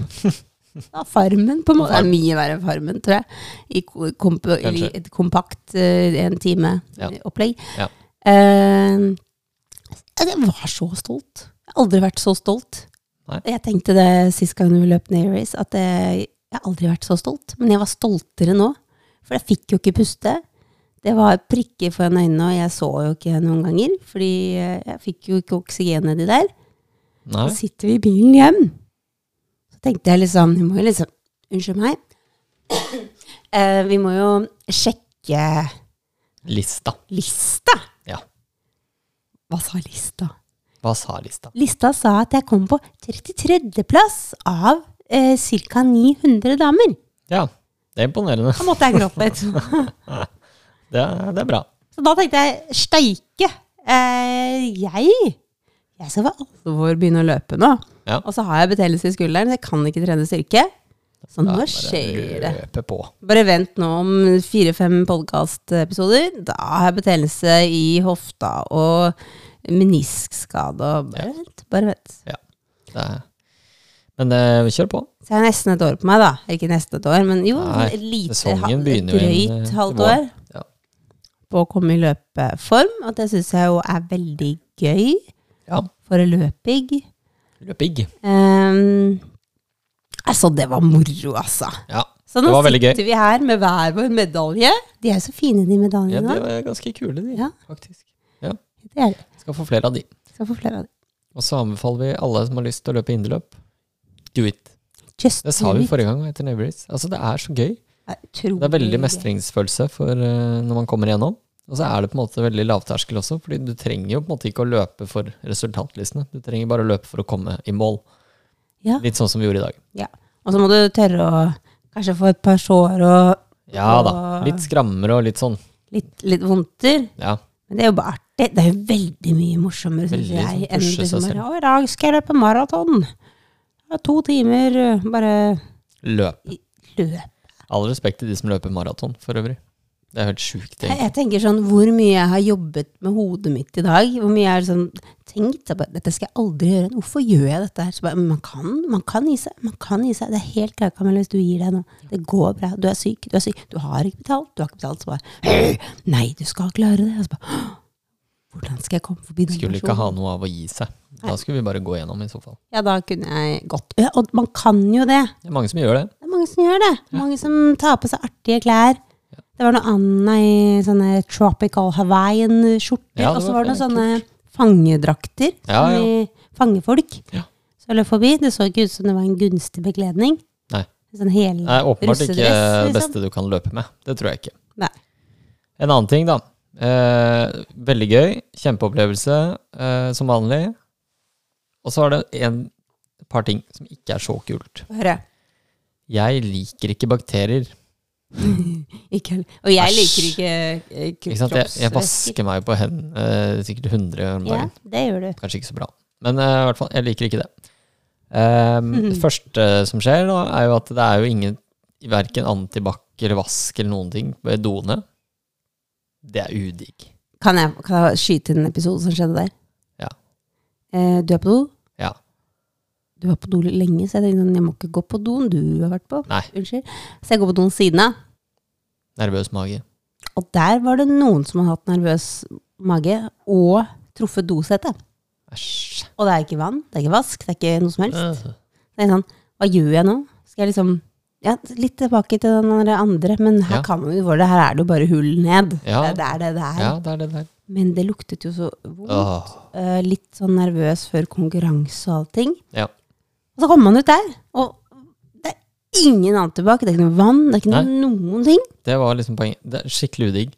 [SPEAKER 1] Da farmen, på en måte. Det er mye verre enn Farmen, tror jeg. I, ko- komp i
[SPEAKER 2] Kanskje.
[SPEAKER 1] et kompakt eh, en time
[SPEAKER 2] Ja.
[SPEAKER 1] eh, opplegg.
[SPEAKER 2] Ja.
[SPEAKER 1] Eh, jeg var så stolt. Jeg har aldri vært så stolt.
[SPEAKER 2] Nei.
[SPEAKER 1] Jeg tenkte det sist gang vi løp Nair Race, at jeg, jeg har aldri vært så stolt. Men jeg var stoltere nå, for jeg fikk jo ikke puste. Det var prikker foran øynene, og jeg så jo ikke noen ganger. Fordi eh, jeg fikk jo ikke oksygen nedi der.
[SPEAKER 2] Nei,
[SPEAKER 1] Så sitter vi i bilen hjem. Så tenkte jeg liksom, vi må jo liksom, unnskyld meg, eh, vi må jo sjekke
[SPEAKER 2] lista.
[SPEAKER 1] lista.
[SPEAKER 2] Ja.
[SPEAKER 1] Hva sa lista?
[SPEAKER 2] Hva sa lista?
[SPEAKER 1] Lista sa at jeg kom på 33. plass av eh, ca. 900 damer.
[SPEAKER 2] Ja, det er imponerende.
[SPEAKER 1] Da måtte jeg gråte litt. (laughs)
[SPEAKER 2] Det er, det er bra.
[SPEAKER 1] Så da tenkte jeg, steike, eh, jeg, jeg skal for alvor begynne å løpe nå.
[SPEAKER 2] Ja.
[SPEAKER 1] Og så har jeg betennelse i skulderen, så jeg kan ikke trene styrke. Så nå
[SPEAKER 2] Da er det
[SPEAKER 1] skjer det.
[SPEAKER 2] Løpe på.
[SPEAKER 1] Bare vent nå om fire-fem podkast-episoder. Da har jeg betennelse i hofta og meniskskade og Bare vent, bare vent.
[SPEAKER 2] Ja. Det er. Men eh, kjør på.
[SPEAKER 1] Så jeg har nesten et år på meg, da. Ikke nesten et år, men jo, sånn
[SPEAKER 2] Nei,
[SPEAKER 1] et lite,
[SPEAKER 2] sesongen
[SPEAKER 1] halv-
[SPEAKER 2] begynner jo inn,
[SPEAKER 1] drøyt
[SPEAKER 2] eh,
[SPEAKER 1] halvt
[SPEAKER 2] til
[SPEAKER 1] år
[SPEAKER 2] våren. Ja.
[SPEAKER 1] på å komme i løpeform. Og det syns jeg jo er veldig gøy
[SPEAKER 2] ja.
[SPEAKER 1] for en løpig.
[SPEAKER 2] Løpig.
[SPEAKER 1] Ehm, altså, det var moro, altså.
[SPEAKER 2] Ja.
[SPEAKER 1] Så
[SPEAKER 2] Det
[SPEAKER 1] nå
[SPEAKER 2] var veldig gøy.
[SPEAKER 1] sitter vi her med hver vår medalje. De er så fine, de
[SPEAKER 2] ja,
[SPEAKER 1] medaljene.
[SPEAKER 2] de var ganske kule, de.
[SPEAKER 1] Ja.
[SPEAKER 2] Faktisk.
[SPEAKER 1] det er det.
[SPEAKER 2] Skal få flere av de.
[SPEAKER 1] Skal få flere av dem.
[SPEAKER 2] Og så anbefaler vi alle som har lyst til å løpe inderløp, do it.
[SPEAKER 1] Just
[SPEAKER 2] Det sa
[SPEAKER 1] do
[SPEAKER 2] vi
[SPEAKER 1] it.
[SPEAKER 2] forrige gang etter Neighbours. Altså, det er så gøy.
[SPEAKER 1] Det er utrolig
[SPEAKER 2] Det er veldig
[SPEAKER 1] gøy.
[SPEAKER 2] mestringsfølelse for, eh, når man kommer igjennom. Og så er det på en måte veldig lavterskel også, fordi du trenger jo på en måte ikke å løpe for resultatlistene. Du trenger bare å løpe for å komme i mål.
[SPEAKER 1] Ja.
[SPEAKER 2] Litt sånn som vi gjorde i dag.
[SPEAKER 1] Ja. Og så må du tørre å kanskje få et par sår og
[SPEAKER 2] Ja da. Litt skrammer og litt sånn.
[SPEAKER 1] litt, litt vondter.
[SPEAKER 2] Ja.
[SPEAKER 1] Men det er jo bare artig. Det er jo veldig mye morsommere, synes
[SPEAKER 2] Veldig sånn
[SPEAKER 1] jeg, enn
[SPEAKER 2] pushe seg
[SPEAKER 1] liksom
[SPEAKER 2] selv.
[SPEAKER 1] bare, «Å, i dag skal jeg løpe maraton. Ja, To timer, ø, bare
[SPEAKER 2] Løp.
[SPEAKER 1] løp.
[SPEAKER 2] All respekt til de som løper maraton, for øvrig. Det er jo helt sjukt,
[SPEAKER 1] Jeg,
[SPEAKER 2] egentlig.
[SPEAKER 1] jeg tenker sånn, hvor mye jeg har jobbet med hodet mitt i dag, hvor mye jeg har sånn, tenkt, jeg bare, dette skal jeg aldri gjøre, hvorfor gjør jeg dette her? Så bare, man kan, man kan gi seg, man kan gi seg, det er helt greit, Kamel, hvis du gir deg nå, det går bra, du er syk, du er syk, du har ikke betalt, du har ikke betalt, så bare, nei, du skal klare det, og så bare, hvordan skal jeg komme forbi den
[SPEAKER 2] Skulle ikke ha noe av å gi seg. Da skulle vi bare gå gjennom, i så fall.
[SPEAKER 1] Ja, da kunne jeg gått. Ja, og man kan jo det.
[SPEAKER 2] Det er mange som gjør det.
[SPEAKER 1] Det er mange som gjør det. Mange som tar på seg artige klær. Det var noe Anna i sånne tropical Hawaiian-skjorter.
[SPEAKER 2] Ja, det
[SPEAKER 1] og så
[SPEAKER 2] var
[SPEAKER 1] var det noen sånne
[SPEAKER 2] kult.
[SPEAKER 1] fangedrakter.
[SPEAKER 2] Ja,
[SPEAKER 1] som i Fangefolk.
[SPEAKER 2] Ja.
[SPEAKER 1] Så jeg løp forbi. Det så ikke ut som det var en gunstig bekledning.
[SPEAKER 2] Nei.
[SPEAKER 1] En Sånn hel
[SPEAKER 2] Det er åpenbart ikke
[SPEAKER 1] russedress,
[SPEAKER 2] det beste du kan løpe med. Det tror jeg ikke.
[SPEAKER 1] Nei.
[SPEAKER 2] En annen ting, da. Eh, veldig gøy. Kjempeopplevelse, eh, som vanlig. Og så er det en et par ting som ikke er så kult.
[SPEAKER 1] Høre.
[SPEAKER 2] Jeg liker ikke bakterier.
[SPEAKER 1] Ikke, heller. og jeg
[SPEAKER 2] Æsj.
[SPEAKER 1] liker ikke eh,
[SPEAKER 2] Ikke sant? Jeg, jeg
[SPEAKER 1] kroppsvæsker.
[SPEAKER 2] vasker meg på hendene eh, sikkert 100 om
[SPEAKER 1] Ja,
[SPEAKER 2] dagen.
[SPEAKER 1] det gjør du.
[SPEAKER 2] Kanskje ikke så bra. Men eh, i hvert fall, jeg liker ikke det. Ehm,
[SPEAKER 1] Mhm.
[SPEAKER 2] Det første som skjer, da, er jo at det er jo ingen verken antibac eller vask eller noen ting ved doene. Det er udigg.
[SPEAKER 1] Kan jeg, kan jeg skyte inn en episode som skjedde der?
[SPEAKER 2] Ja.
[SPEAKER 1] Eh, du er på do?
[SPEAKER 2] Ja.
[SPEAKER 1] Du var på do litt lenge, så jeg tenkte sånn, jeg må ikke gå på doen du har vært på.
[SPEAKER 2] Nei.
[SPEAKER 1] Unnskyld. Så jeg går på doen siden av,
[SPEAKER 2] Nervøs mage.
[SPEAKER 1] og der var det noen som hadde hatt nervøs mage og truffet dosettet.
[SPEAKER 2] Æsj.
[SPEAKER 1] Og det er ikke vann, det er ikke vask, det er ikke noe som helst.
[SPEAKER 2] Øh.
[SPEAKER 1] Det er sånn, hva gjør jeg nå? Skal jeg liksom ja, Litt tilbake til den der andre, men her
[SPEAKER 2] Ja.
[SPEAKER 1] kan man jo for det. Her er det jo bare hull ned.
[SPEAKER 2] Ja.
[SPEAKER 1] Det er det det er.
[SPEAKER 2] Ja, det er det der.
[SPEAKER 1] Men det luktet jo så vondt.
[SPEAKER 2] Åh.
[SPEAKER 1] eh, litt sånn nervøs før konkurranse og allting.
[SPEAKER 2] Ja.
[SPEAKER 1] Og så kommer man ut der, og det er ingen antibac, det er ikke noe vann, det er ikke noe noen ting.
[SPEAKER 2] Det var liksom poenget. Det er skikkelig udigg.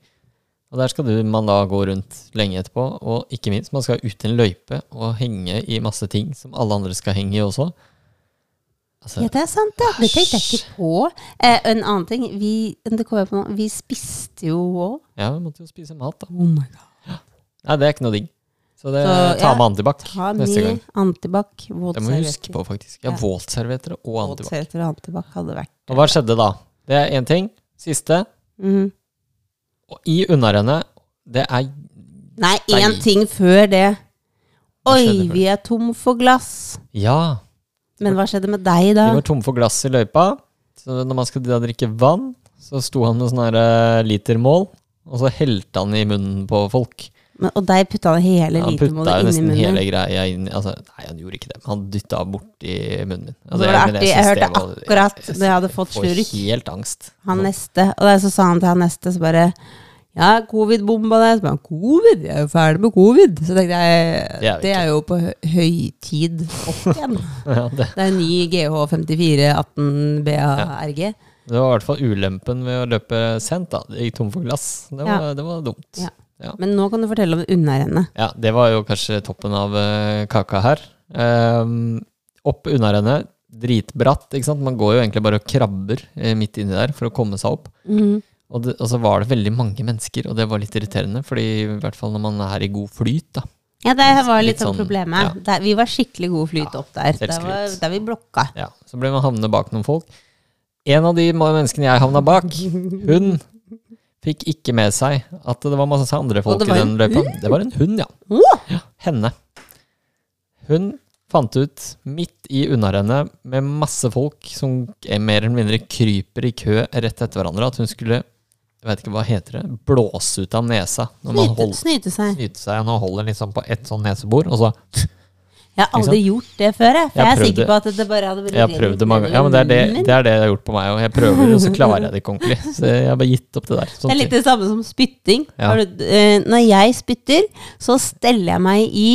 [SPEAKER 2] Og der skal du, man da gå rundt lenge etterpå, og ikke minst, man skal ut i en løype og henge i masse ting som alle andre skal henge i også. Altså,
[SPEAKER 1] Ja, det er sant, det. Det tenkte jeg ikke på. Eh, en annen ting, vi, det kom jeg på nå, vi spiste jo òg.
[SPEAKER 2] ja, vi måtte jo spise mat, da.
[SPEAKER 1] Oh my god.
[SPEAKER 2] Nei, det er ikke noe digg. Så det,
[SPEAKER 1] Så,
[SPEAKER 2] ta
[SPEAKER 1] ja,
[SPEAKER 2] med antibac
[SPEAKER 1] Ta
[SPEAKER 2] neste gang.
[SPEAKER 1] med antibac, våt
[SPEAKER 2] Det må vi huske på, faktisk. Ja,
[SPEAKER 1] Ja.
[SPEAKER 2] Våtservietter og
[SPEAKER 1] Våt
[SPEAKER 2] antibac.
[SPEAKER 1] servietter og antibac hadde vært
[SPEAKER 2] Og hva skjedde da? Det er én ting. Siste.
[SPEAKER 1] mm.
[SPEAKER 2] Og i unnarennet, det er
[SPEAKER 1] Nei, én
[SPEAKER 2] Nei.
[SPEAKER 1] ting før det.
[SPEAKER 2] Hva skjedde
[SPEAKER 1] Oi,
[SPEAKER 2] før?
[SPEAKER 1] vi er tom for glass.
[SPEAKER 2] Ja.
[SPEAKER 1] Men hva skjedde med deg da?
[SPEAKER 2] Vi var tomme for glass i løypa. Så når man skal da drikke vann, så sto han med sånn her eh, litermål, og så helte han i munnen på folk.
[SPEAKER 1] Men, og deg putta han hele
[SPEAKER 2] Han putta jo
[SPEAKER 1] litermålet inn i
[SPEAKER 2] nesten
[SPEAKER 1] munnen.
[SPEAKER 2] hele greia inn altså, Nei, han gjorde ikke det, men han dytta borti munnen min. Altså,
[SPEAKER 1] det var artig. Jeg
[SPEAKER 2] synes
[SPEAKER 1] hørte
[SPEAKER 2] var-
[SPEAKER 1] akkurat
[SPEAKER 2] jeg-
[SPEAKER 1] da jeg hadde fått slurk.
[SPEAKER 2] Får helt angst.
[SPEAKER 1] Han neste, og da så sa han til han neste, så bare Ja, covid-bomba deg. Så bare Covid? Jeg er jo ferdig med covid. Så tenkte
[SPEAKER 2] Det er
[SPEAKER 1] jeg
[SPEAKER 2] vi
[SPEAKER 1] Det er jo på hø- høytid opp igjen.
[SPEAKER 2] Ja, (laughs) det,
[SPEAKER 1] Det er en ny GH5418BARG.
[SPEAKER 2] det var i hvert fall ulempen ved å løpe sent, da. Det gikk tom for glass. Det var, det var dumt.
[SPEAKER 1] Ja.
[SPEAKER 2] Ja.
[SPEAKER 1] Men nå kan du fortelle om unnarennet.
[SPEAKER 2] Ja, det var jo kanskje toppen av eh, kaka her. Ehm, opp unna henne, dritbratt, ikke sant? Man går jo egentlig bare og krabber eh, midt inni der for å komme seg opp.
[SPEAKER 1] Mm.
[SPEAKER 2] Og, det, og så var det veldig mange mennesker, og det var litt irriterende, fordi i hvert fall når man er i god flyt, da.
[SPEAKER 1] Ja, det var litt
[SPEAKER 2] Litt
[SPEAKER 1] sånn
[SPEAKER 2] sånn,
[SPEAKER 1] problemet.
[SPEAKER 2] ja.
[SPEAKER 1] Der, vi var skikkelig gode flyt
[SPEAKER 2] Ja,
[SPEAKER 1] opp der. Der,
[SPEAKER 2] selvskryt.
[SPEAKER 1] var, der vi blokka.
[SPEAKER 2] Ja, så ble man havnet bak noen folk. En av de ma- menneskene jeg havna bak, hun fikk ikke med seg at det var masse andre folk
[SPEAKER 1] det
[SPEAKER 2] i
[SPEAKER 1] var
[SPEAKER 2] den løypa. Det var en hund, ja.
[SPEAKER 1] Åh!
[SPEAKER 2] henne. Hun fant ut, midt i unnarennet, med masse folk som er mer eller mindre kryper i kø rett etter hverandre, at hun skulle, jeg vet ikke hva heter det, blåse ut av nesa. Når man
[SPEAKER 1] Snyte,
[SPEAKER 2] holder,
[SPEAKER 1] snyte seg.
[SPEAKER 2] snyter seg, og nå holder den liksom på ett sånn nesebor,
[SPEAKER 1] (laughs)
[SPEAKER 2] og så
[SPEAKER 1] Jeg har aldri gjort det før, jeg. For
[SPEAKER 2] Jeg
[SPEAKER 1] jeg, er
[SPEAKER 2] prøvde-
[SPEAKER 1] sikker på at det bare hadde
[SPEAKER 2] Jeg har prøvd det mange ganger. Ja, men det er det, det er det jeg har gjort på meg òg. Jeg prøver, og så klarer jeg det ikke ordentlig. Så jeg har bare gitt opp det der.
[SPEAKER 1] Det
[SPEAKER 2] Sånn
[SPEAKER 1] er litt det samme som spytting.
[SPEAKER 2] Ja.
[SPEAKER 1] Har du, eh, når jeg spytter, så steller jeg meg i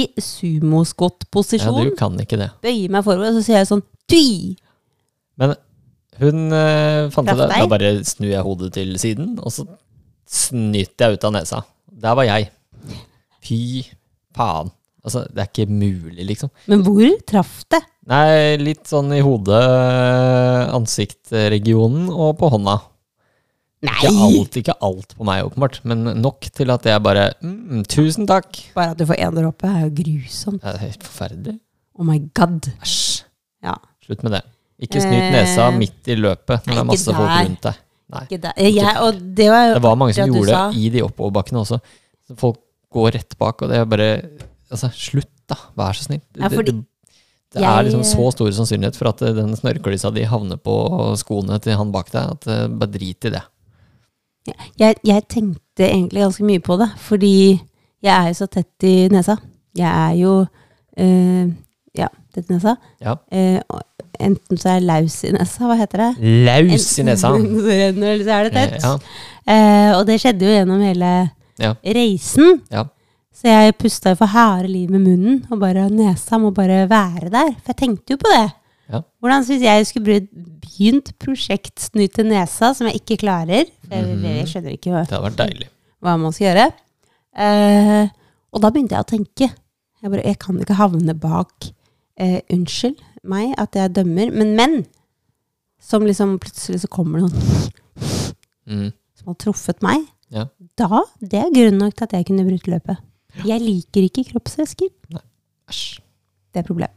[SPEAKER 2] ja,
[SPEAKER 1] sumoskottposisjon,
[SPEAKER 2] du kan ikke det.
[SPEAKER 1] bøyer meg forover, og så sier jeg sånn tui!
[SPEAKER 2] Men hun eh, fant
[SPEAKER 1] Traff
[SPEAKER 2] det. Da
[SPEAKER 1] deg?
[SPEAKER 2] bare snur jeg hodet til siden, og så snyter jeg ut av nesa. Der var jeg. Fy faen. Altså, det er ikke mulig, liksom.
[SPEAKER 1] Men hvor traff det?
[SPEAKER 2] Nei, litt sånn i hodet, ansiktregionen og på hånda. Ikke
[SPEAKER 1] Nei!
[SPEAKER 2] alt, ikke alt på meg, åpenbart, men nok til at jeg bare mm, Tusen takk!
[SPEAKER 1] Bare at du får én dråpe, er jo grusomt.
[SPEAKER 2] Det er helt forferdelig.
[SPEAKER 1] Oh my god.
[SPEAKER 2] Æsj.
[SPEAKER 1] Ja.
[SPEAKER 2] Slutt med det. Ikke snyt nesa
[SPEAKER 1] Eh,
[SPEAKER 2] midt i løpet når det
[SPEAKER 1] ikke
[SPEAKER 2] er masse folk
[SPEAKER 1] der.
[SPEAKER 2] rundt deg. Nei.
[SPEAKER 1] Ikke det. Eh, Jeg, og det var,
[SPEAKER 2] Det var mange som
[SPEAKER 1] at du
[SPEAKER 2] gjorde
[SPEAKER 1] sa.
[SPEAKER 2] det i de oppoverbakkene også. Så folk går rett bak, og det er bare Altså, slutt, da. Vær så snill.
[SPEAKER 1] Ja, fordi
[SPEAKER 2] det det, det er
[SPEAKER 1] jeg-
[SPEAKER 2] liksom så stor sannsynlighet for at eh, den snørrklissa di havner på skoene til han bak deg, at eh, bare drit i det.
[SPEAKER 1] jeg, jeg tenkte egentlig ganske mye på det, fordi jeg er jo så tett i nesa. Jeg er jo eh, ja, tett i nesa.
[SPEAKER 2] Ja.
[SPEAKER 1] Eh, og enten så er jeg laus i nesa, hva heter det?
[SPEAKER 2] Laus i
[SPEAKER 1] (laughs)
[SPEAKER 2] nesa!
[SPEAKER 1] Enten så renner, eller så er det
[SPEAKER 2] Eh,
[SPEAKER 1] tett.
[SPEAKER 2] Ja,
[SPEAKER 1] Eh, og det skjedde jo gjennom hele
[SPEAKER 2] Ja.
[SPEAKER 1] reisen.
[SPEAKER 2] ja.
[SPEAKER 1] Så jeg pusta jo for harde liv med munnen, og bare nesa må bare være der. For jeg tenkte jo på det.
[SPEAKER 2] Ja.
[SPEAKER 1] Hvordan hvis jeg skulle bry- begynt prosjekt Snyte nesa, som jeg ikke klarer for jeg,
[SPEAKER 2] Mhm.
[SPEAKER 1] jeg skjønner ikke hva
[SPEAKER 2] Det hadde vært deilig.
[SPEAKER 1] hva man skal gjøre. Eh, og da begynte jeg å tenke. Jeg, bare, jeg kan ikke havne bak eh, unnskyld meg at jeg dømmer, men menn som liksom plutselig så kommer det noen
[SPEAKER 2] Mm.
[SPEAKER 1] som har truffet meg,
[SPEAKER 2] Ja.
[SPEAKER 1] da det er grunn nok til at jeg kunne brutt løpet. Jeg liker ikke kroppsvæsker.
[SPEAKER 2] Æsj.
[SPEAKER 1] Det er problem.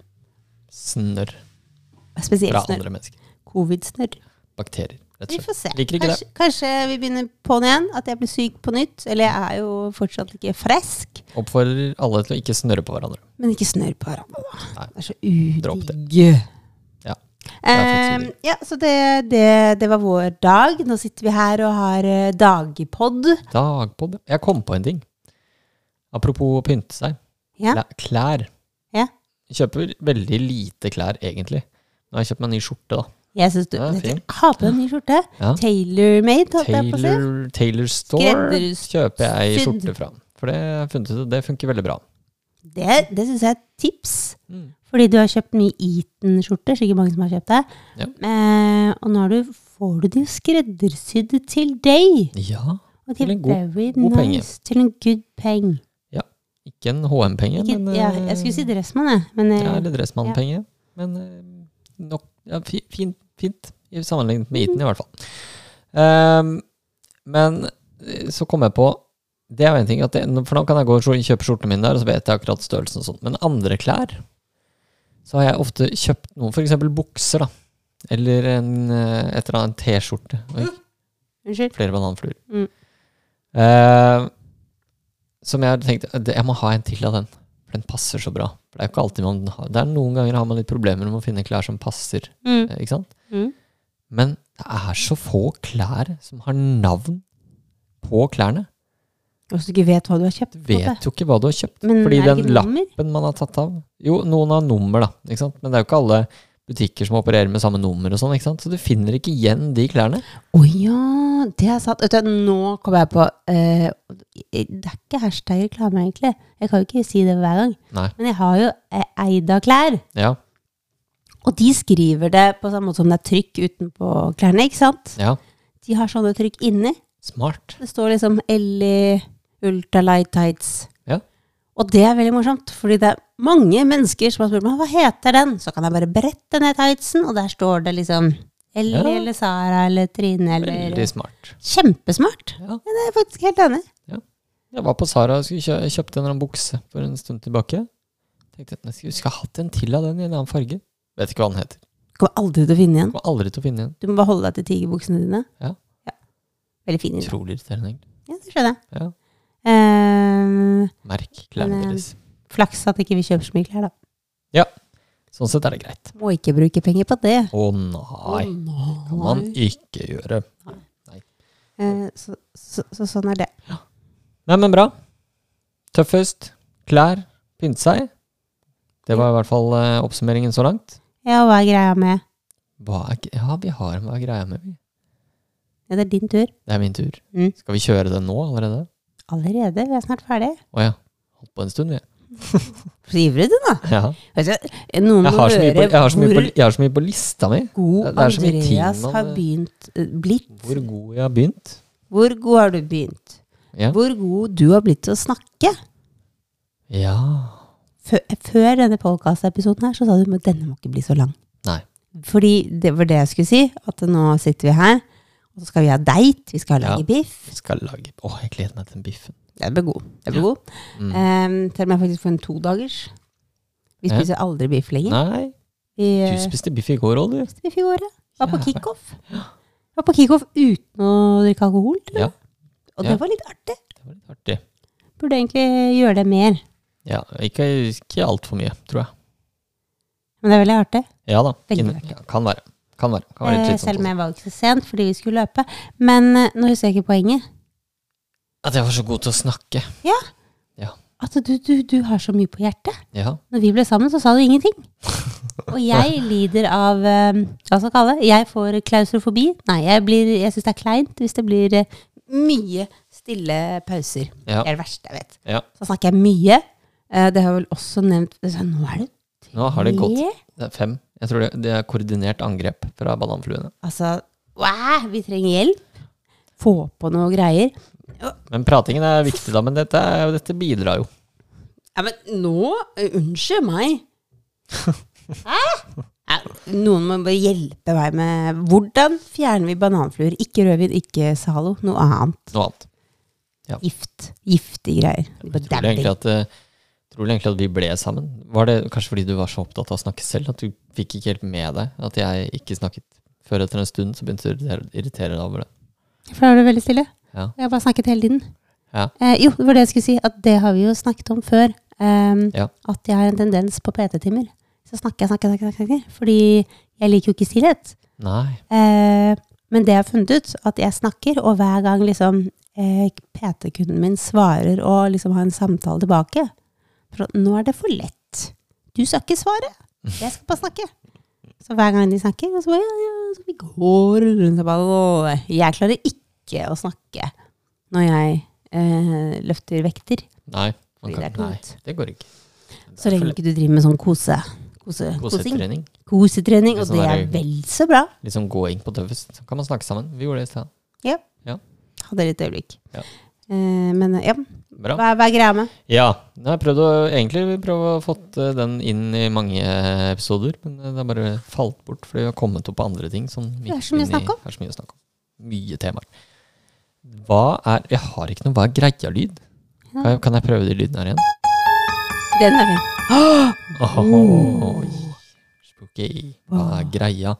[SPEAKER 2] Snørr fra
[SPEAKER 1] Spesielt snørr.
[SPEAKER 2] andre mennesker.
[SPEAKER 1] Covid-snørr.
[SPEAKER 2] Bakterier, rett
[SPEAKER 1] Vi
[SPEAKER 2] og slett.
[SPEAKER 1] får se.
[SPEAKER 2] Altså, Liker ikke
[SPEAKER 1] Kanskje, kanskje vi begynner på'n igjen, at jeg blir syk på nytt. Eller jeg er jo fortsatt ikke frisk,
[SPEAKER 2] Oppfordrer alle til å ikke snørre på hverandre.
[SPEAKER 1] men ikke snørr på hverandre, da.
[SPEAKER 2] Nei.
[SPEAKER 1] Det er så
[SPEAKER 2] Dropp det.
[SPEAKER 1] udigg.
[SPEAKER 2] Ja.
[SPEAKER 1] Eh,
[SPEAKER 2] faktisk
[SPEAKER 1] ja, så det, det, det var vår dag. Nå sitter vi her og har eh, dagpod.
[SPEAKER 2] Dagpod. Jeg kom på en ting. Apropos å pynte seg.
[SPEAKER 1] Ja.
[SPEAKER 2] Kla- Klær.
[SPEAKER 1] Ja.
[SPEAKER 2] Jeg kjøper veldig lite klær, egentlig. Nå har jeg kjøpt meg en ny skjorte, da.
[SPEAKER 1] Jeg syns du
[SPEAKER 2] Ja,
[SPEAKER 1] vet du,
[SPEAKER 2] fin.
[SPEAKER 1] Ha på deg en ny skjorte.
[SPEAKER 2] Ja.
[SPEAKER 1] Tailor-made, holdt jeg på å si.
[SPEAKER 2] Taylor, Taylor Store
[SPEAKER 1] Skreddersydd.
[SPEAKER 2] kjøper jeg ei skjorte fra. For det har jeg funnet ut, at det funker veldig bra.
[SPEAKER 1] Det, det syns jeg er et tips.
[SPEAKER 2] Mm.
[SPEAKER 1] Fordi du har kjøpt mye Eton-skjorter, sikkert mange som har kjøpt det.
[SPEAKER 2] Ja.
[SPEAKER 1] Eh, og nå har du, får du de jo skreddersydd til deg.
[SPEAKER 2] Ja.
[SPEAKER 1] Og
[SPEAKER 2] Til
[SPEAKER 1] til
[SPEAKER 2] en god-
[SPEAKER 1] very
[SPEAKER 2] god penge.
[SPEAKER 1] nice. Til en good peng.
[SPEAKER 2] Ikke en HM-penge,
[SPEAKER 1] Ikke,
[SPEAKER 2] men
[SPEAKER 1] ja,
[SPEAKER 2] eh,
[SPEAKER 1] jeg skulle si Dressmann, jeg. Men eh,
[SPEAKER 2] ja, Eller Dressmann-penge. Men eh, nok ja, fi- fint, fint. I sammenlignet med Eton, i hvert fall. Ehm, men eh, så kom jeg på Det er jo en ting at det, For nå kan jeg gå og skjor- kjøpe skjortene mine der, og så vet jeg akkurat størrelsen og sånt. Men andre klær så har jeg ofte kjøpt noen, f.eks. bukser, da. Eller en, eh, et eller annet T-skjorte. Oi,
[SPEAKER 1] Unnskyld.
[SPEAKER 2] flere bananfluer.
[SPEAKER 1] Mm.
[SPEAKER 2] Eh, som jeg tenkte eh, det- Jeg må ha en til av den, for den passer så bra. For det er jo ikke alltid man har, det er Noen ganger har man litt problemer med å finne klær som passer.
[SPEAKER 1] Mm.
[SPEAKER 2] eh, Ikke sant?
[SPEAKER 1] Mm.
[SPEAKER 2] Men det er så få klær som har navn på klærne.
[SPEAKER 1] Hvis du ikke vet hva du har kjøpt.
[SPEAKER 2] Du
[SPEAKER 1] på en måte.
[SPEAKER 2] vet jo ikke hva du har kjøpt.
[SPEAKER 1] Men
[SPEAKER 2] fordi
[SPEAKER 1] er det
[SPEAKER 2] den
[SPEAKER 1] ikke
[SPEAKER 2] lappen
[SPEAKER 1] nummer?
[SPEAKER 2] man har tatt av Jo, noen har nummer, da. Ikke sant? Men det er jo ikke alle butikker som opererer med samme nummer og sånn. ikke sant? Så du finner ikke igjen de klærne.
[SPEAKER 1] Å ja, det er sant. Vet du, nå kom jeg på eh, Det er ikke hashtag reklame, egentlig. Jeg kan jo ikke si det hver gang.
[SPEAKER 2] Nei.
[SPEAKER 1] Men jeg har jo eh, eid av klær.
[SPEAKER 2] Ja.
[SPEAKER 1] Og de skriver det på samme måte som det er trykk utenpå klærne, ikke sant?
[SPEAKER 2] ja.
[SPEAKER 1] De har sånne trykk inni.
[SPEAKER 2] Smart.
[SPEAKER 1] Det står liksom Ellie Ultralight Tights.
[SPEAKER 2] Ja.
[SPEAKER 1] Og det er veldig morsomt, fordi det er mange mennesker som har spurt meg hva heter den? Så kan jeg bare brette ned tightsen, og der står det liksom Ellie
[SPEAKER 2] Ja.
[SPEAKER 1] eller Sara eller Trine eller
[SPEAKER 2] Veldig smart.
[SPEAKER 1] Kjempesmart.
[SPEAKER 2] Ja.
[SPEAKER 1] Ja, det er jeg faktisk helt enig. i.
[SPEAKER 2] Jeg var på Sara og skulle kjø kjøpte en eller annen bukse for en stund tilbake. Tenkte at jeg skulle skulle hatt en til av den i en annen farge. Vet ikke hva den heter.
[SPEAKER 1] Kommer aldri til å finne igjen.
[SPEAKER 2] Kommer aldri til å finne igjen.
[SPEAKER 1] Du må bare holde deg til tigerbuksene dine.
[SPEAKER 2] Ja.
[SPEAKER 1] Veldig fin. idé.
[SPEAKER 2] Utrolig irriterende. egentlig.
[SPEAKER 1] Ja, det skjønner jeg.
[SPEAKER 2] Ja.
[SPEAKER 1] Eh,
[SPEAKER 2] Merk klærne
[SPEAKER 1] Men, eh,
[SPEAKER 2] deres.
[SPEAKER 1] flaks at ikke vi kjøper så mye klær, da.
[SPEAKER 2] Sånn sett er det greit.
[SPEAKER 1] Må ikke bruke penger på det.
[SPEAKER 2] Å nei,
[SPEAKER 1] Å,
[SPEAKER 2] kan man
[SPEAKER 1] nei.
[SPEAKER 2] ikke gjøre.
[SPEAKER 1] Eh, så, så, så sånn er det.
[SPEAKER 2] Nei, men bra. Tøffest. Klær. Pynte seg. Det var i hvert fall eh, oppsummeringen så langt.
[SPEAKER 1] Ja, hva er greia med
[SPEAKER 2] Hva er, g- ja, vi har hva er greia med vi?
[SPEAKER 1] Ja, det er din tur.
[SPEAKER 2] Det er min tur.
[SPEAKER 1] Mm.
[SPEAKER 2] Skal vi kjøre den nå allerede?
[SPEAKER 1] Allerede? Vi er snart ferdig.
[SPEAKER 2] Å ja. Holdt på en stund, vi.
[SPEAKER 1] Så ivrig du nå.
[SPEAKER 2] Ja.
[SPEAKER 1] Vet du, Noen
[SPEAKER 2] Jeg
[SPEAKER 1] må
[SPEAKER 2] har, så mye på,
[SPEAKER 1] høre
[SPEAKER 2] jeg, har så mye på,
[SPEAKER 1] hvor
[SPEAKER 2] jeg har så mye på lista mi.
[SPEAKER 1] god
[SPEAKER 2] det er så mye ting
[SPEAKER 1] Andreas
[SPEAKER 2] man-
[SPEAKER 1] har begynt, eh, blitt.
[SPEAKER 2] Hvor god jeg har begynt.
[SPEAKER 1] Hvor god har du begynt?
[SPEAKER 2] Ja.
[SPEAKER 1] Hvor god du har blitt til å snakke.
[SPEAKER 2] ja.
[SPEAKER 1] Før, før denne podcast-episoden her, så sa du at denne må ikke bli så lang.
[SPEAKER 2] Nei.
[SPEAKER 1] Fordi det var det jeg skulle si, at nå sitter vi her, og så skal vi ha date, vi skal
[SPEAKER 2] Ja.
[SPEAKER 1] lage biff.
[SPEAKER 2] Vi skal lage Å, jeg gleder meg til den biffen.
[SPEAKER 1] Det blir god. Det blir god.
[SPEAKER 2] Mm.
[SPEAKER 1] Ehm, til og med faktisk for en todagers. Vi
[SPEAKER 2] Ja.
[SPEAKER 1] spiser aldri biff lenger.
[SPEAKER 2] Nei,
[SPEAKER 1] Vi
[SPEAKER 2] du
[SPEAKER 1] eh,
[SPEAKER 2] spiste biff i går òg, du.
[SPEAKER 1] spiste biff i går, ja. Var på
[SPEAKER 2] Jævlig.
[SPEAKER 1] kickoff. Var på kickoff uten å drikke alkohol, tror jeg.
[SPEAKER 2] Ja.
[SPEAKER 1] Og
[SPEAKER 2] Ja.
[SPEAKER 1] det var litt artig.
[SPEAKER 2] Det var litt artig.
[SPEAKER 1] Burde egentlig gjøre det mer.
[SPEAKER 2] Ja, ikke, ikke altfor mye, tror jeg.
[SPEAKER 1] Men det er veldig artig.
[SPEAKER 2] Ja da.
[SPEAKER 1] Veldig
[SPEAKER 2] Inn-
[SPEAKER 1] artig.
[SPEAKER 2] ja, kan være. Kan være. Kan være
[SPEAKER 1] Eh, selv
[SPEAKER 2] litt slitsomt. altså.
[SPEAKER 1] om jeg var ikke så sent fordi vi skulle løpe. Men eh, nå husker jeg ikke poenget.
[SPEAKER 2] også. At jeg var så god til å snakke.
[SPEAKER 1] At du, du, du har så mye på hjertet.
[SPEAKER 2] Ja.
[SPEAKER 1] Når vi ble sammen, så sa du ingenting. Og
[SPEAKER 2] (laughs)
[SPEAKER 1] jeg lider av eh, Hva skal jeg kalle det? Jeg får klaustrofobi. Nei, jeg, blir- jeg syns det er kleint hvis det blir eh, mye stille pauser. Det
[SPEAKER 2] ja.
[SPEAKER 1] er det verste jeg vet.
[SPEAKER 2] Ja.
[SPEAKER 1] Så snakker jeg mye. Eh, Det har jeg vel også nevnt så Nå er det
[SPEAKER 2] Nå har det gått.
[SPEAKER 1] tre.
[SPEAKER 2] Det er fem. Jeg tror det, det er koordinert angrep fra bananfluene.
[SPEAKER 1] Altså, wow, vi trenger hjelp. Få på noe greier.
[SPEAKER 2] Men pratingen er viktig, da. Men dette, er- dette bidrar jo. (laughs)
[SPEAKER 1] Ja, men nå eh, Unnskyld meg. Nei, Noen må bare hjelpe meg med hvordan fjerner vi bananfluer? Ikke rødvin, ikke Zalo, noe annet.
[SPEAKER 2] Noe annet.
[SPEAKER 1] Gift. Giftige greier.
[SPEAKER 2] Jeg tror egentlig at, eh, tror egentlig at vi ble sammen. Var det kanskje fordi du var så opptatt av å snakke selv at du fikk ikke helt med deg at jeg ikke snakket? Før etter en stund så begynte du å irritere- irritere deg over det.
[SPEAKER 1] For da var du veldig stille.
[SPEAKER 2] Ja.
[SPEAKER 1] Jeg har bare snakket hele tiden.
[SPEAKER 2] Ja.
[SPEAKER 1] Eh, jo, det var det jeg skulle si, at det har vi jo snakket om før. ehm,
[SPEAKER 2] Ja.
[SPEAKER 1] At jeg har en tendens på PT-timer. Så snakker jeg, snakker jeg, snakker, jeg, snakker. jeg, Fordi jeg liker jo ikke stillhet.
[SPEAKER 2] Nei.
[SPEAKER 1] Eh, men det jeg har funnet ut, at jeg snakker, og hver gang liksom eh, PT-kunden min svarer og liksom har en samtale tilbake For at nå er det for lett. Du skal ikke svare. Jeg skal bare snakke. Så hver gang de snakker, og så bare ja, ja, så vi går rundt og bare «Åh, Jeg klarer ikke å snakke når jeg eh, løfter vekter.
[SPEAKER 2] Nei.
[SPEAKER 1] Fordi
[SPEAKER 2] Man
[SPEAKER 1] det
[SPEAKER 2] kan,
[SPEAKER 1] er
[SPEAKER 2] nei,
[SPEAKER 1] tungt.
[SPEAKER 2] det går ikke.
[SPEAKER 1] Så
[SPEAKER 2] Det er for
[SPEAKER 1] lenge ikke du driver med sånn kose, kose, kosing.
[SPEAKER 2] Kosetrening.
[SPEAKER 1] kosetrening, og
[SPEAKER 2] Sånn
[SPEAKER 1] det er
[SPEAKER 2] der-
[SPEAKER 1] vel så bra.
[SPEAKER 2] Litt sånn gåing på tøffest. Så kan man snakke sammen. Vi gjorde det i sted.
[SPEAKER 1] Hadde et øyeblikk.
[SPEAKER 2] Ja.
[SPEAKER 1] Eh, men ja,
[SPEAKER 2] Bra.
[SPEAKER 1] hva, hva er greia med?
[SPEAKER 2] Ja. Jeg har prøvd å, egentlig prøvd å få den inn i mange eh, episoder, men det har bare falt bort fordi vi har kommet opp på andre ting. Som
[SPEAKER 1] Det er så mye å snakke om.
[SPEAKER 2] Det er så mye å snakke om. Mye temaer. Hva er Jeg har ikke noe Hva er greia-lyd? Kan, jeg- kan jeg prøve de lydene her igjen?
[SPEAKER 1] Den er fin.
[SPEAKER 2] Oi. Spooky. Hva er greia?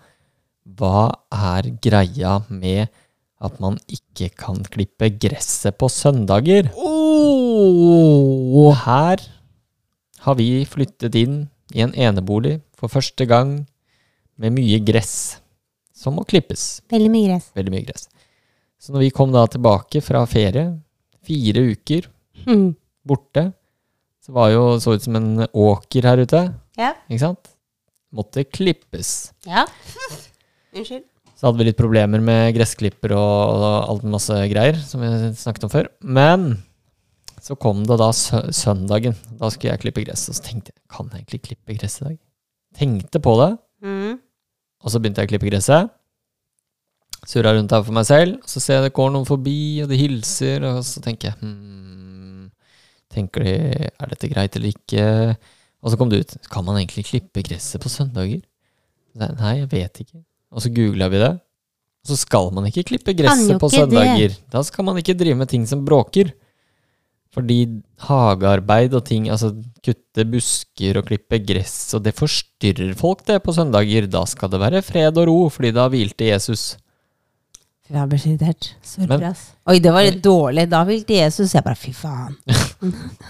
[SPEAKER 2] Hva er greia med at man ikke kan klippe gresset på søndager? Og her har vi flyttet inn i en enebolig for første gang med mye gress som må klippes.
[SPEAKER 1] Veldig mye gress.
[SPEAKER 2] Veldig mye gress. Så når vi kom da tilbake fra ferie, fire uker
[SPEAKER 1] Mm.
[SPEAKER 2] borte, så var jo så ut som en åker her ute
[SPEAKER 1] Ja.
[SPEAKER 2] ikke sant? Måtte klippes.
[SPEAKER 1] ja. (laughs) Unnskyld.
[SPEAKER 2] Så hadde vi litt problemer med gressklipper og, og alt masse greier, som vi snakket om før. Men så kom det da sø søndagen. Da skulle jeg klippe gress. Og så tenkte jeg, kan jeg egentlig klippe gress i dag? Tenkte på det,
[SPEAKER 1] Mm.
[SPEAKER 2] og så begynte jeg å klippe gresset. Surra rundt her for meg selv. Så ser jeg det går noen forbi, og de hilser, og så tenker jeg hmm, Tenker de er dette greit eller ikke? Og så kom det ut. Kan man egentlig klippe gresset på søndager? Så sa jeg, Nei, jeg vet ikke. Og så googla vi det. Og så skal man ikke klippe
[SPEAKER 1] Kan jo
[SPEAKER 2] gresset på
[SPEAKER 1] ikke det.
[SPEAKER 2] søndager. Da skal man ikke drive med ting som bråker. Fordi hagearbeid og ting, altså kutte busker og klippe gress, og det forstyrrer folk det på søndager. Da skal det være fred og ro, fordi da hvilte Jesus.
[SPEAKER 1] Fy, jeg ble så irritert. Sorry,
[SPEAKER 2] Men-
[SPEAKER 1] ass. Oi, det var litt dårlig. Da ville til Jesus. Jeg bare, fy faen.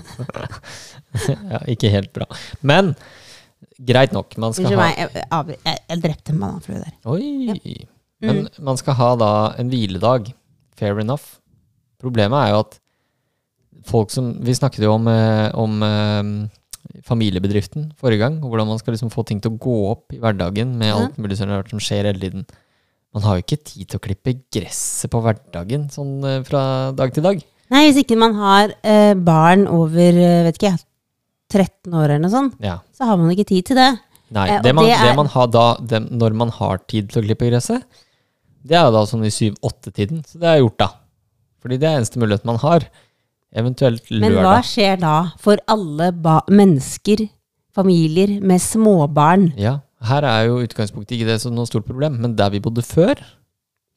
[SPEAKER 2] (laughs) Ja, ikke helt bra. Men greit nok, man skal
[SPEAKER 1] Unnskyld
[SPEAKER 2] ha
[SPEAKER 1] meg. Jeg, jeg, avbry- jeg, jeg drepte en bananflue der.
[SPEAKER 2] Oi! Men
[SPEAKER 1] Mm.
[SPEAKER 2] man skal ha da en hviledag. Fair enough. Problemet er jo at folk som Vi snakket jo om, eh, om eh, familiebedriften forrige gang. og Hvordan man skal liksom få ting til å gå opp i hverdagen med
[SPEAKER 1] Ja.
[SPEAKER 2] alt mulig som som skjer hele tiden. Man har jo ikke tid til å klippe gresset på hverdagen sånn eh, fra dag til dag.
[SPEAKER 1] Nei, hvis ikke man har eh, barn over, eh, vet ikke jeg, 13 år eller noe sånt,
[SPEAKER 2] Ja.
[SPEAKER 1] så har man ikke tid til det.
[SPEAKER 2] Nei,
[SPEAKER 1] Eh, og
[SPEAKER 2] det man,
[SPEAKER 1] det
[SPEAKER 2] det,
[SPEAKER 1] er-
[SPEAKER 2] man har da, det, når man har tid til å klippe gresset, det er jo da sånn i 7-8-tiden. Så det er gjort, da. Fordi det er eneste mulighet man har. Eventuelt
[SPEAKER 1] Men hva
[SPEAKER 2] lørdag.
[SPEAKER 1] skjer da for alle ba mennesker, familier med småbarn?
[SPEAKER 2] Ja, her er jo utgangspunktet ikke det som noe stort problem, men der vi bodde før,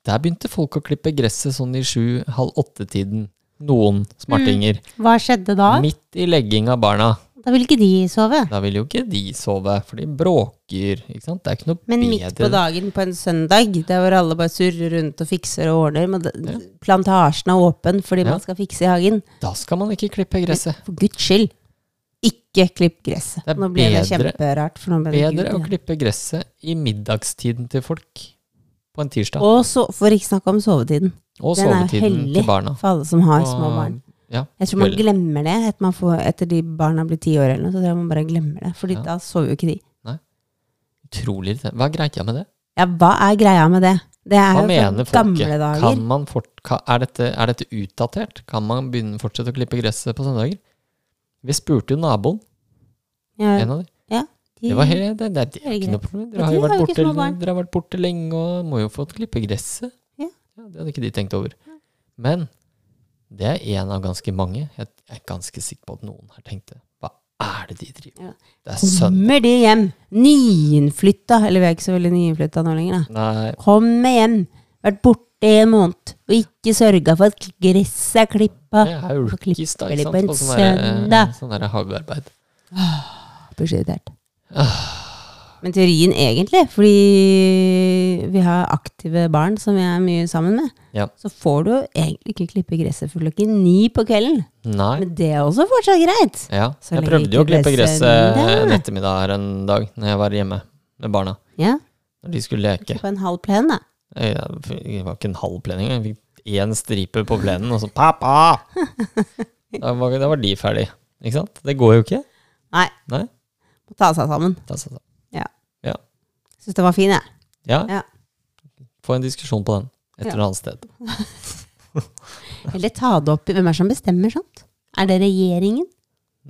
[SPEAKER 2] der begynte folk å klippe gresset sånn i 7-halv-8-tiden. Noen smartinger.
[SPEAKER 1] Hva skjedde da?
[SPEAKER 2] Midt i legging av barna.
[SPEAKER 1] Da ville ikke de sove.
[SPEAKER 2] Da vil jo ikke de sove, for de bråker. ikke sant? Det er ikke noe
[SPEAKER 1] Men
[SPEAKER 2] bedre
[SPEAKER 1] midt på dagen på en søndag, der hvor alle bare surrer rundt og fikser og ordner, men det- plantasjen er åpen fordi
[SPEAKER 2] Ja.
[SPEAKER 1] man skal fikse i hagen.
[SPEAKER 2] Da skal man ikke klippe gresset.
[SPEAKER 1] For guds skyld, ikke klipp gresset.
[SPEAKER 2] Det er
[SPEAKER 1] Nå ble det
[SPEAKER 2] bedre-
[SPEAKER 1] kjemperart. For nå ble det
[SPEAKER 2] Bedre å
[SPEAKER 1] gult igjen.
[SPEAKER 2] klippe gresset i middagstiden til folk på en tirsdag.
[SPEAKER 1] og så, for ikke snakke om sovetiden.
[SPEAKER 2] Og
[SPEAKER 1] den er jo
[SPEAKER 2] sovetiden
[SPEAKER 1] hellig.
[SPEAKER 2] til barna.
[SPEAKER 1] For alle som har
[SPEAKER 2] Og-
[SPEAKER 1] små barn.
[SPEAKER 2] Ja,
[SPEAKER 1] Jeg tror man
[SPEAKER 2] kvelden.
[SPEAKER 1] glemmer det etter, man får, etter de barna blir ti år eller noe. Så tror jeg man bare glemmer det, Fordi
[SPEAKER 2] Ja.
[SPEAKER 1] da sover jo ikke de.
[SPEAKER 2] Utrolig. irriterende. Hva er greia med det?
[SPEAKER 1] Ja, hva er greia med det? Det er
[SPEAKER 2] Hva
[SPEAKER 1] jo
[SPEAKER 2] mener
[SPEAKER 1] fra gamle
[SPEAKER 2] folket?
[SPEAKER 1] dager.
[SPEAKER 2] Kan man fort, ka- er, dette, er dette utdatert? Kan man begynne fortsette å klippe gresset på søndager? Vi spurte jo naboen,
[SPEAKER 1] Ja,
[SPEAKER 2] en av dem.
[SPEAKER 1] de-
[SPEAKER 2] Det, var helt, det, det, det er
[SPEAKER 1] det er
[SPEAKER 2] ikke noe problem.
[SPEAKER 1] Men
[SPEAKER 2] Dere har jo
[SPEAKER 1] de
[SPEAKER 2] vært
[SPEAKER 1] har jo ikke
[SPEAKER 2] borte,
[SPEAKER 1] små barn.
[SPEAKER 2] dere har vært borte lenge og må jo få klippe gresset.
[SPEAKER 1] Ja.
[SPEAKER 2] Det hadde ikke de tenkt over. Men det er en av ganske mange. Jeg er ganske sikker på at noen har tenkt det. Hva er det de driver med?
[SPEAKER 1] Ja.
[SPEAKER 2] Det er sønn...
[SPEAKER 1] Kommer de hjem? Nyinnflytta. Eller vi er ikke så veldig nyinnflytta nå lenger, da.
[SPEAKER 2] Nei,
[SPEAKER 1] Kommer hjem. Vært borte i en måned. Og ikke sørga for at gresset er klippa.
[SPEAKER 2] det er jo
[SPEAKER 1] Så klipper
[SPEAKER 2] rookies, da.
[SPEAKER 1] de
[SPEAKER 2] Ikke
[SPEAKER 1] på en
[SPEAKER 2] sant? På sånn derre
[SPEAKER 1] søndag.
[SPEAKER 2] sånn der hagearbeid.
[SPEAKER 1] Blir så irritert. Men teorien egentlig, fordi vi har aktive barn som vi er mye sammen med,
[SPEAKER 2] Ja.
[SPEAKER 1] så får du jo egentlig ikke klippe gresset før klokken ni på kvelden.
[SPEAKER 2] Nei.
[SPEAKER 1] Men det er også fortsatt greit.
[SPEAKER 2] Ja.
[SPEAKER 1] Så
[SPEAKER 2] Jeg
[SPEAKER 1] lenge
[SPEAKER 2] prøvde jo å
[SPEAKER 1] ikke det
[SPEAKER 2] klippe
[SPEAKER 1] er
[SPEAKER 2] gresset
[SPEAKER 1] søndag.
[SPEAKER 2] en ettermiddag her en dag når jeg var hjemme med barna.
[SPEAKER 1] Ja,
[SPEAKER 2] Når de skulle leke.
[SPEAKER 1] på en halv plen, da.
[SPEAKER 2] Jeg jeg var ikke en halv plen engang. Jeg fikk én stripe på plenen, og så
[SPEAKER 1] (laughs)
[SPEAKER 2] pappa! Da var, da var de ferdige. Ikke sant? Det går jo ikke.
[SPEAKER 1] Nei.
[SPEAKER 2] Nei.
[SPEAKER 1] Må ta seg sammen.
[SPEAKER 2] Da sa jeg,
[SPEAKER 1] Syns den var fin, jeg.
[SPEAKER 2] Ja.
[SPEAKER 1] Ja.
[SPEAKER 2] Få en diskusjon på den et
[SPEAKER 1] Ja.
[SPEAKER 2] eller annet sted.
[SPEAKER 1] Eller ta det opp i Hvem er det som bestemmer sånt? Er det regjeringen?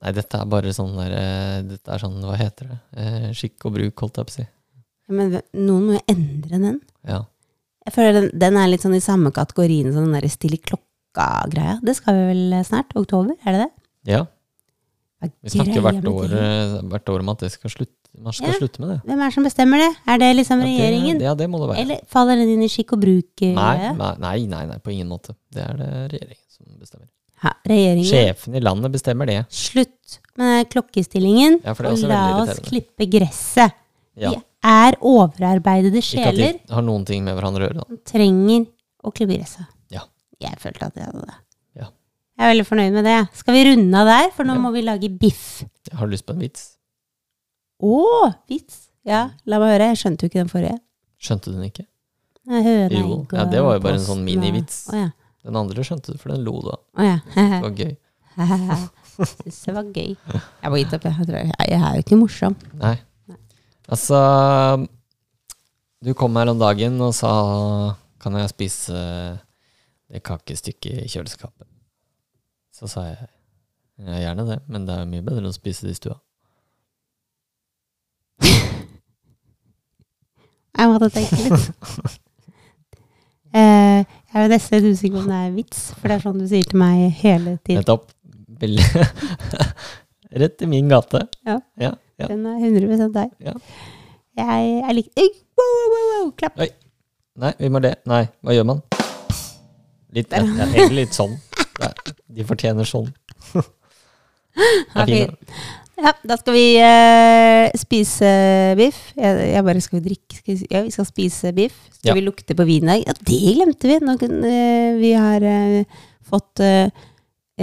[SPEAKER 2] Nei, dette er bare sånn der eh, Dette er sånn, hva heter det? Eh, Skikk og bruk, holdt jeg på å si.
[SPEAKER 1] Men hve- noen må jo endre den.
[SPEAKER 2] Ja.
[SPEAKER 1] Jeg føler den, den er litt sånn i samme kategorien som den der stille klokka-greia. Det skal vi vel eh, snart? Oktober, er det det?
[SPEAKER 2] ja.
[SPEAKER 1] Hva
[SPEAKER 2] Vi snakker
[SPEAKER 1] greia
[SPEAKER 2] hvert
[SPEAKER 1] med
[SPEAKER 2] år,
[SPEAKER 1] det?
[SPEAKER 2] eh, hvert år om at det skal slutte. man skal
[SPEAKER 1] Ja.
[SPEAKER 2] slutte med det.
[SPEAKER 1] Hvem er det som bestemmer det? Er det liksom
[SPEAKER 2] Ja, det-
[SPEAKER 1] regjeringen?
[SPEAKER 2] Ja, det må det være.
[SPEAKER 1] Eller faller den inn i skikk og bruk? eh,
[SPEAKER 2] Nei,
[SPEAKER 1] greia?
[SPEAKER 2] nei, nei, nei, nei, på ingen måte. Det er det regjeringen som bestemmer.
[SPEAKER 1] Ja, regjeringen.
[SPEAKER 2] Sjefen i landet bestemmer det.
[SPEAKER 1] Slutt med klokkestillingen,
[SPEAKER 2] Ja, for det er
[SPEAKER 1] og
[SPEAKER 2] også
[SPEAKER 1] la
[SPEAKER 2] veldig
[SPEAKER 1] oss
[SPEAKER 2] irriterende.
[SPEAKER 1] klippe gresset.
[SPEAKER 2] Ja.
[SPEAKER 1] Vi er overarbeidede
[SPEAKER 2] Ikke at de
[SPEAKER 1] sjeler
[SPEAKER 2] har noen ting med hverandre å gjøre, da.
[SPEAKER 1] som trenger å klippe gresset.
[SPEAKER 2] Ja.
[SPEAKER 1] Jeg følte at jeg hadde det.
[SPEAKER 2] Ja.
[SPEAKER 1] Jeg er veldig fornøyd med det. Skal vi runde av der, for nå
[SPEAKER 2] Ja.
[SPEAKER 1] må vi lage biff.
[SPEAKER 2] Jeg har lyst på en vits.
[SPEAKER 1] Å, vits! Ja, la meg høre. Jeg skjønte jo ikke den forrige.
[SPEAKER 2] Skjønte du den ikke?
[SPEAKER 1] Nei, Høna,
[SPEAKER 2] Jo,
[SPEAKER 1] egg
[SPEAKER 2] ja,
[SPEAKER 1] og
[SPEAKER 2] det var jo bare en
[SPEAKER 1] posten
[SPEAKER 2] sånn
[SPEAKER 1] og-
[SPEAKER 2] minivits.
[SPEAKER 1] Å ja.
[SPEAKER 2] Den andre skjønte du, for den lo du av.
[SPEAKER 1] Å ja. (laughs)
[SPEAKER 2] Det var gøy.
[SPEAKER 1] Syns det var gøy. Jeg må gitt opp, jeg. Jeg tror- jeg- Jeg er jo ikke morsom.
[SPEAKER 2] Nei. Altså Du kom her om dagen og sa Kan jeg spise det kakestykket i kjøleskapet? Så sa jeg ja, gjerne det, men det er jo mye bedre å spise det i stua.
[SPEAKER 1] Jeg måtte tenke litt.
[SPEAKER 2] (laughs)
[SPEAKER 1] Eh, jeg er jo nesten litt usikker på om det er vits, for det er sånn du sier til meg hele tiden.
[SPEAKER 2] Nettopp. Veldig- (laughs) Rett i min gate.
[SPEAKER 1] Ja.
[SPEAKER 2] Ja, ja.
[SPEAKER 1] Den er 100 deg.
[SPEAKER 2] Ja.
[SPEAKER 1] Jeg er lik Oi, wow, wow, wow, wow, Klapp.
[SPEAKER 2] Oi. Nei, vi må det. Nei, hva gjør man? Litt, det er egentlig litt sånn. Det er- De
[SPEAKER 1] (laughs)
[SPEAKER 2] fortjener sånn. Det er fint. da.
[SPEAKER 1] Ja, da skal vi eh, spise biff. Jeg, jeg bare skal vi drikke skal vi, si- Ja, vi skal spise biff. Skal
[SPEAKER 2] Ja.
[SPEAKER 1] vi lukte på vin i dag? Ja, det glemte vi! Nå, kun- eh, vi har eh, fått eh,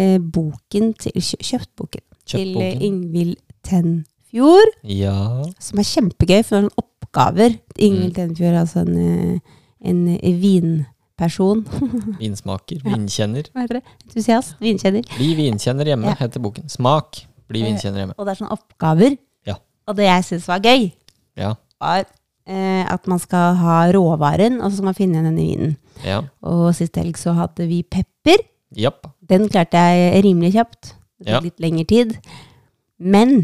[SPEAKER 1] eh, boken til kjø- Kjøpt boken til eh,
[SPEAKER 2] Kjøttboken.
[SPEAKER 1] Ingvild Tenfjord.
[SPEAKER 2] Ja.
[SPEAKER 1] som er kjempegøy, for det er sånne oppgaver.
[SPEAKER 2] Mm.
[SPEAKER 1] Ingvild Tenfjord er altså en, eh, en eh, vinperson, (laughs)
[SPEAKER 2] Vinsmaker. Vinkjenner.
[SPEAKER 1] hva heter det? Entusiast, vinkjenner.
[SPEAKER 2] Bli vinkjenner hjemme,
[SPEAKER 1] Ja.
[SPEAKER 2] heter boken. Smak. Bli vinkjenner hjemme.
[SPEAKER 1] Og det er sånne oppgaver.
[SPEAKER 2] Ja.
[SPEAKER 1] Og det jeg syns var gøy,
[SPEAKER 2] Ja.
[SPEAKER 1] var eh, at man skal ha råvaren, og så skal man finne den i vinen.
[SPEAKER 2] Ja.
[SPEAKER 1] Og sist helg så hadde vi pepper.
[SPEAKER 2] Japp.
[SPEAKER 1] Den klarte jeg rimelig kjapt. Det tok
[SPEAKER 2] Ja.
[SPEAKER 1] litt lengre tid. Men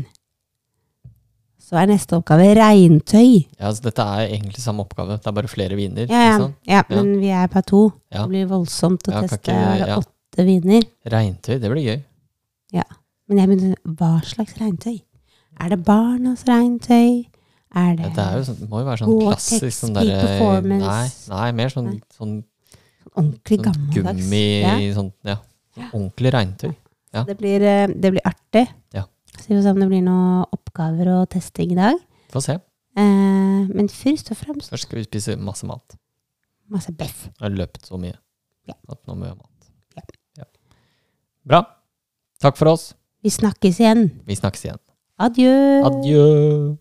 [SPEAKER 1] så er neste oppgave regntøy.
[SPEAKER 2] Ja, altså, dette er egentlig samme oppgave, det er bare flere viner.
[SPEAKER 1] Ja,
[SPEAKER 2] ikke
[SPEAKER 1] ja.
[SPEAKER 2] sant?
[SPEAKER 1] ja, men vi er på to.
[SPEAKER 2] Ja.
[SPEAKER 1] Det blir voldsomt å
[SPEAKER 2] Ja, kan
[SPEAKER 1] teste.
[SPEAKER 2] ikke-
[SPEAKER 1] Jeg har
[SPEAKER 2] ja.
[SPEAKER 1] åtte viner.
[SPEAKER 2] Regntøy, det blir gøy.
[SPEAKER 1] Men jeg begynte, hva slags regntøy? Er det barnas regntøy? Er
[SPEAKER 2] Ja,
[SPEAKER 1] det,
[SPEAKER 2] det er jo sånn, det må jo være sånn
[SPEAKER 1] Gore-Tex,
[SPEAKER 2] klassisk sånn
[SPEAKER 1] peak
[SPEAKER 2] derre
[SPEAKER 1] performance.
[SPEAKER 2] nei, nei, mer sånn,
[SPEAKER 1] Nei.
[SPEAKER 2] sånn,
[SPEAKER 1] ordentlig
[SPEAKER 2] sånn
[SPEAKER 1] gammeldags?
[SPEAKER 2] gummi
[SPEAKER 1] Ja.
[SPEAKER 2] sånn, ja. Ordentlig regntøy. ja.
[SPEAKER 1] Det, blir, eh, det blir artig.
[SPEAKER 2] Ja.
[SPEAKER 1] Så vi får se om det blir noen oppgaver og testing i dag.
[SPEAKER 2] Få se.
[SPEAKER 1] Eh, men først og fremst
[SPEAKER 2] Først skal vi spise masse mat.
[SPEAKER 1] masse beff.
[SPEAKER 2] Jeg har løpt så mye
[SPEAKER 1] Ja.
[SPEAKER 2] at nå må vi ha mat.
[SPEAKER 1] Ja.
[SPEAKER 2] Ja. Bra. Takk for oss.
[SPEAKER 1] Vi snakkes igjen.
[SPEAKER 2] Vi snakkes igjen.
[SPEAKER 1] Adjø.
[SPEAKER 2] Adjø.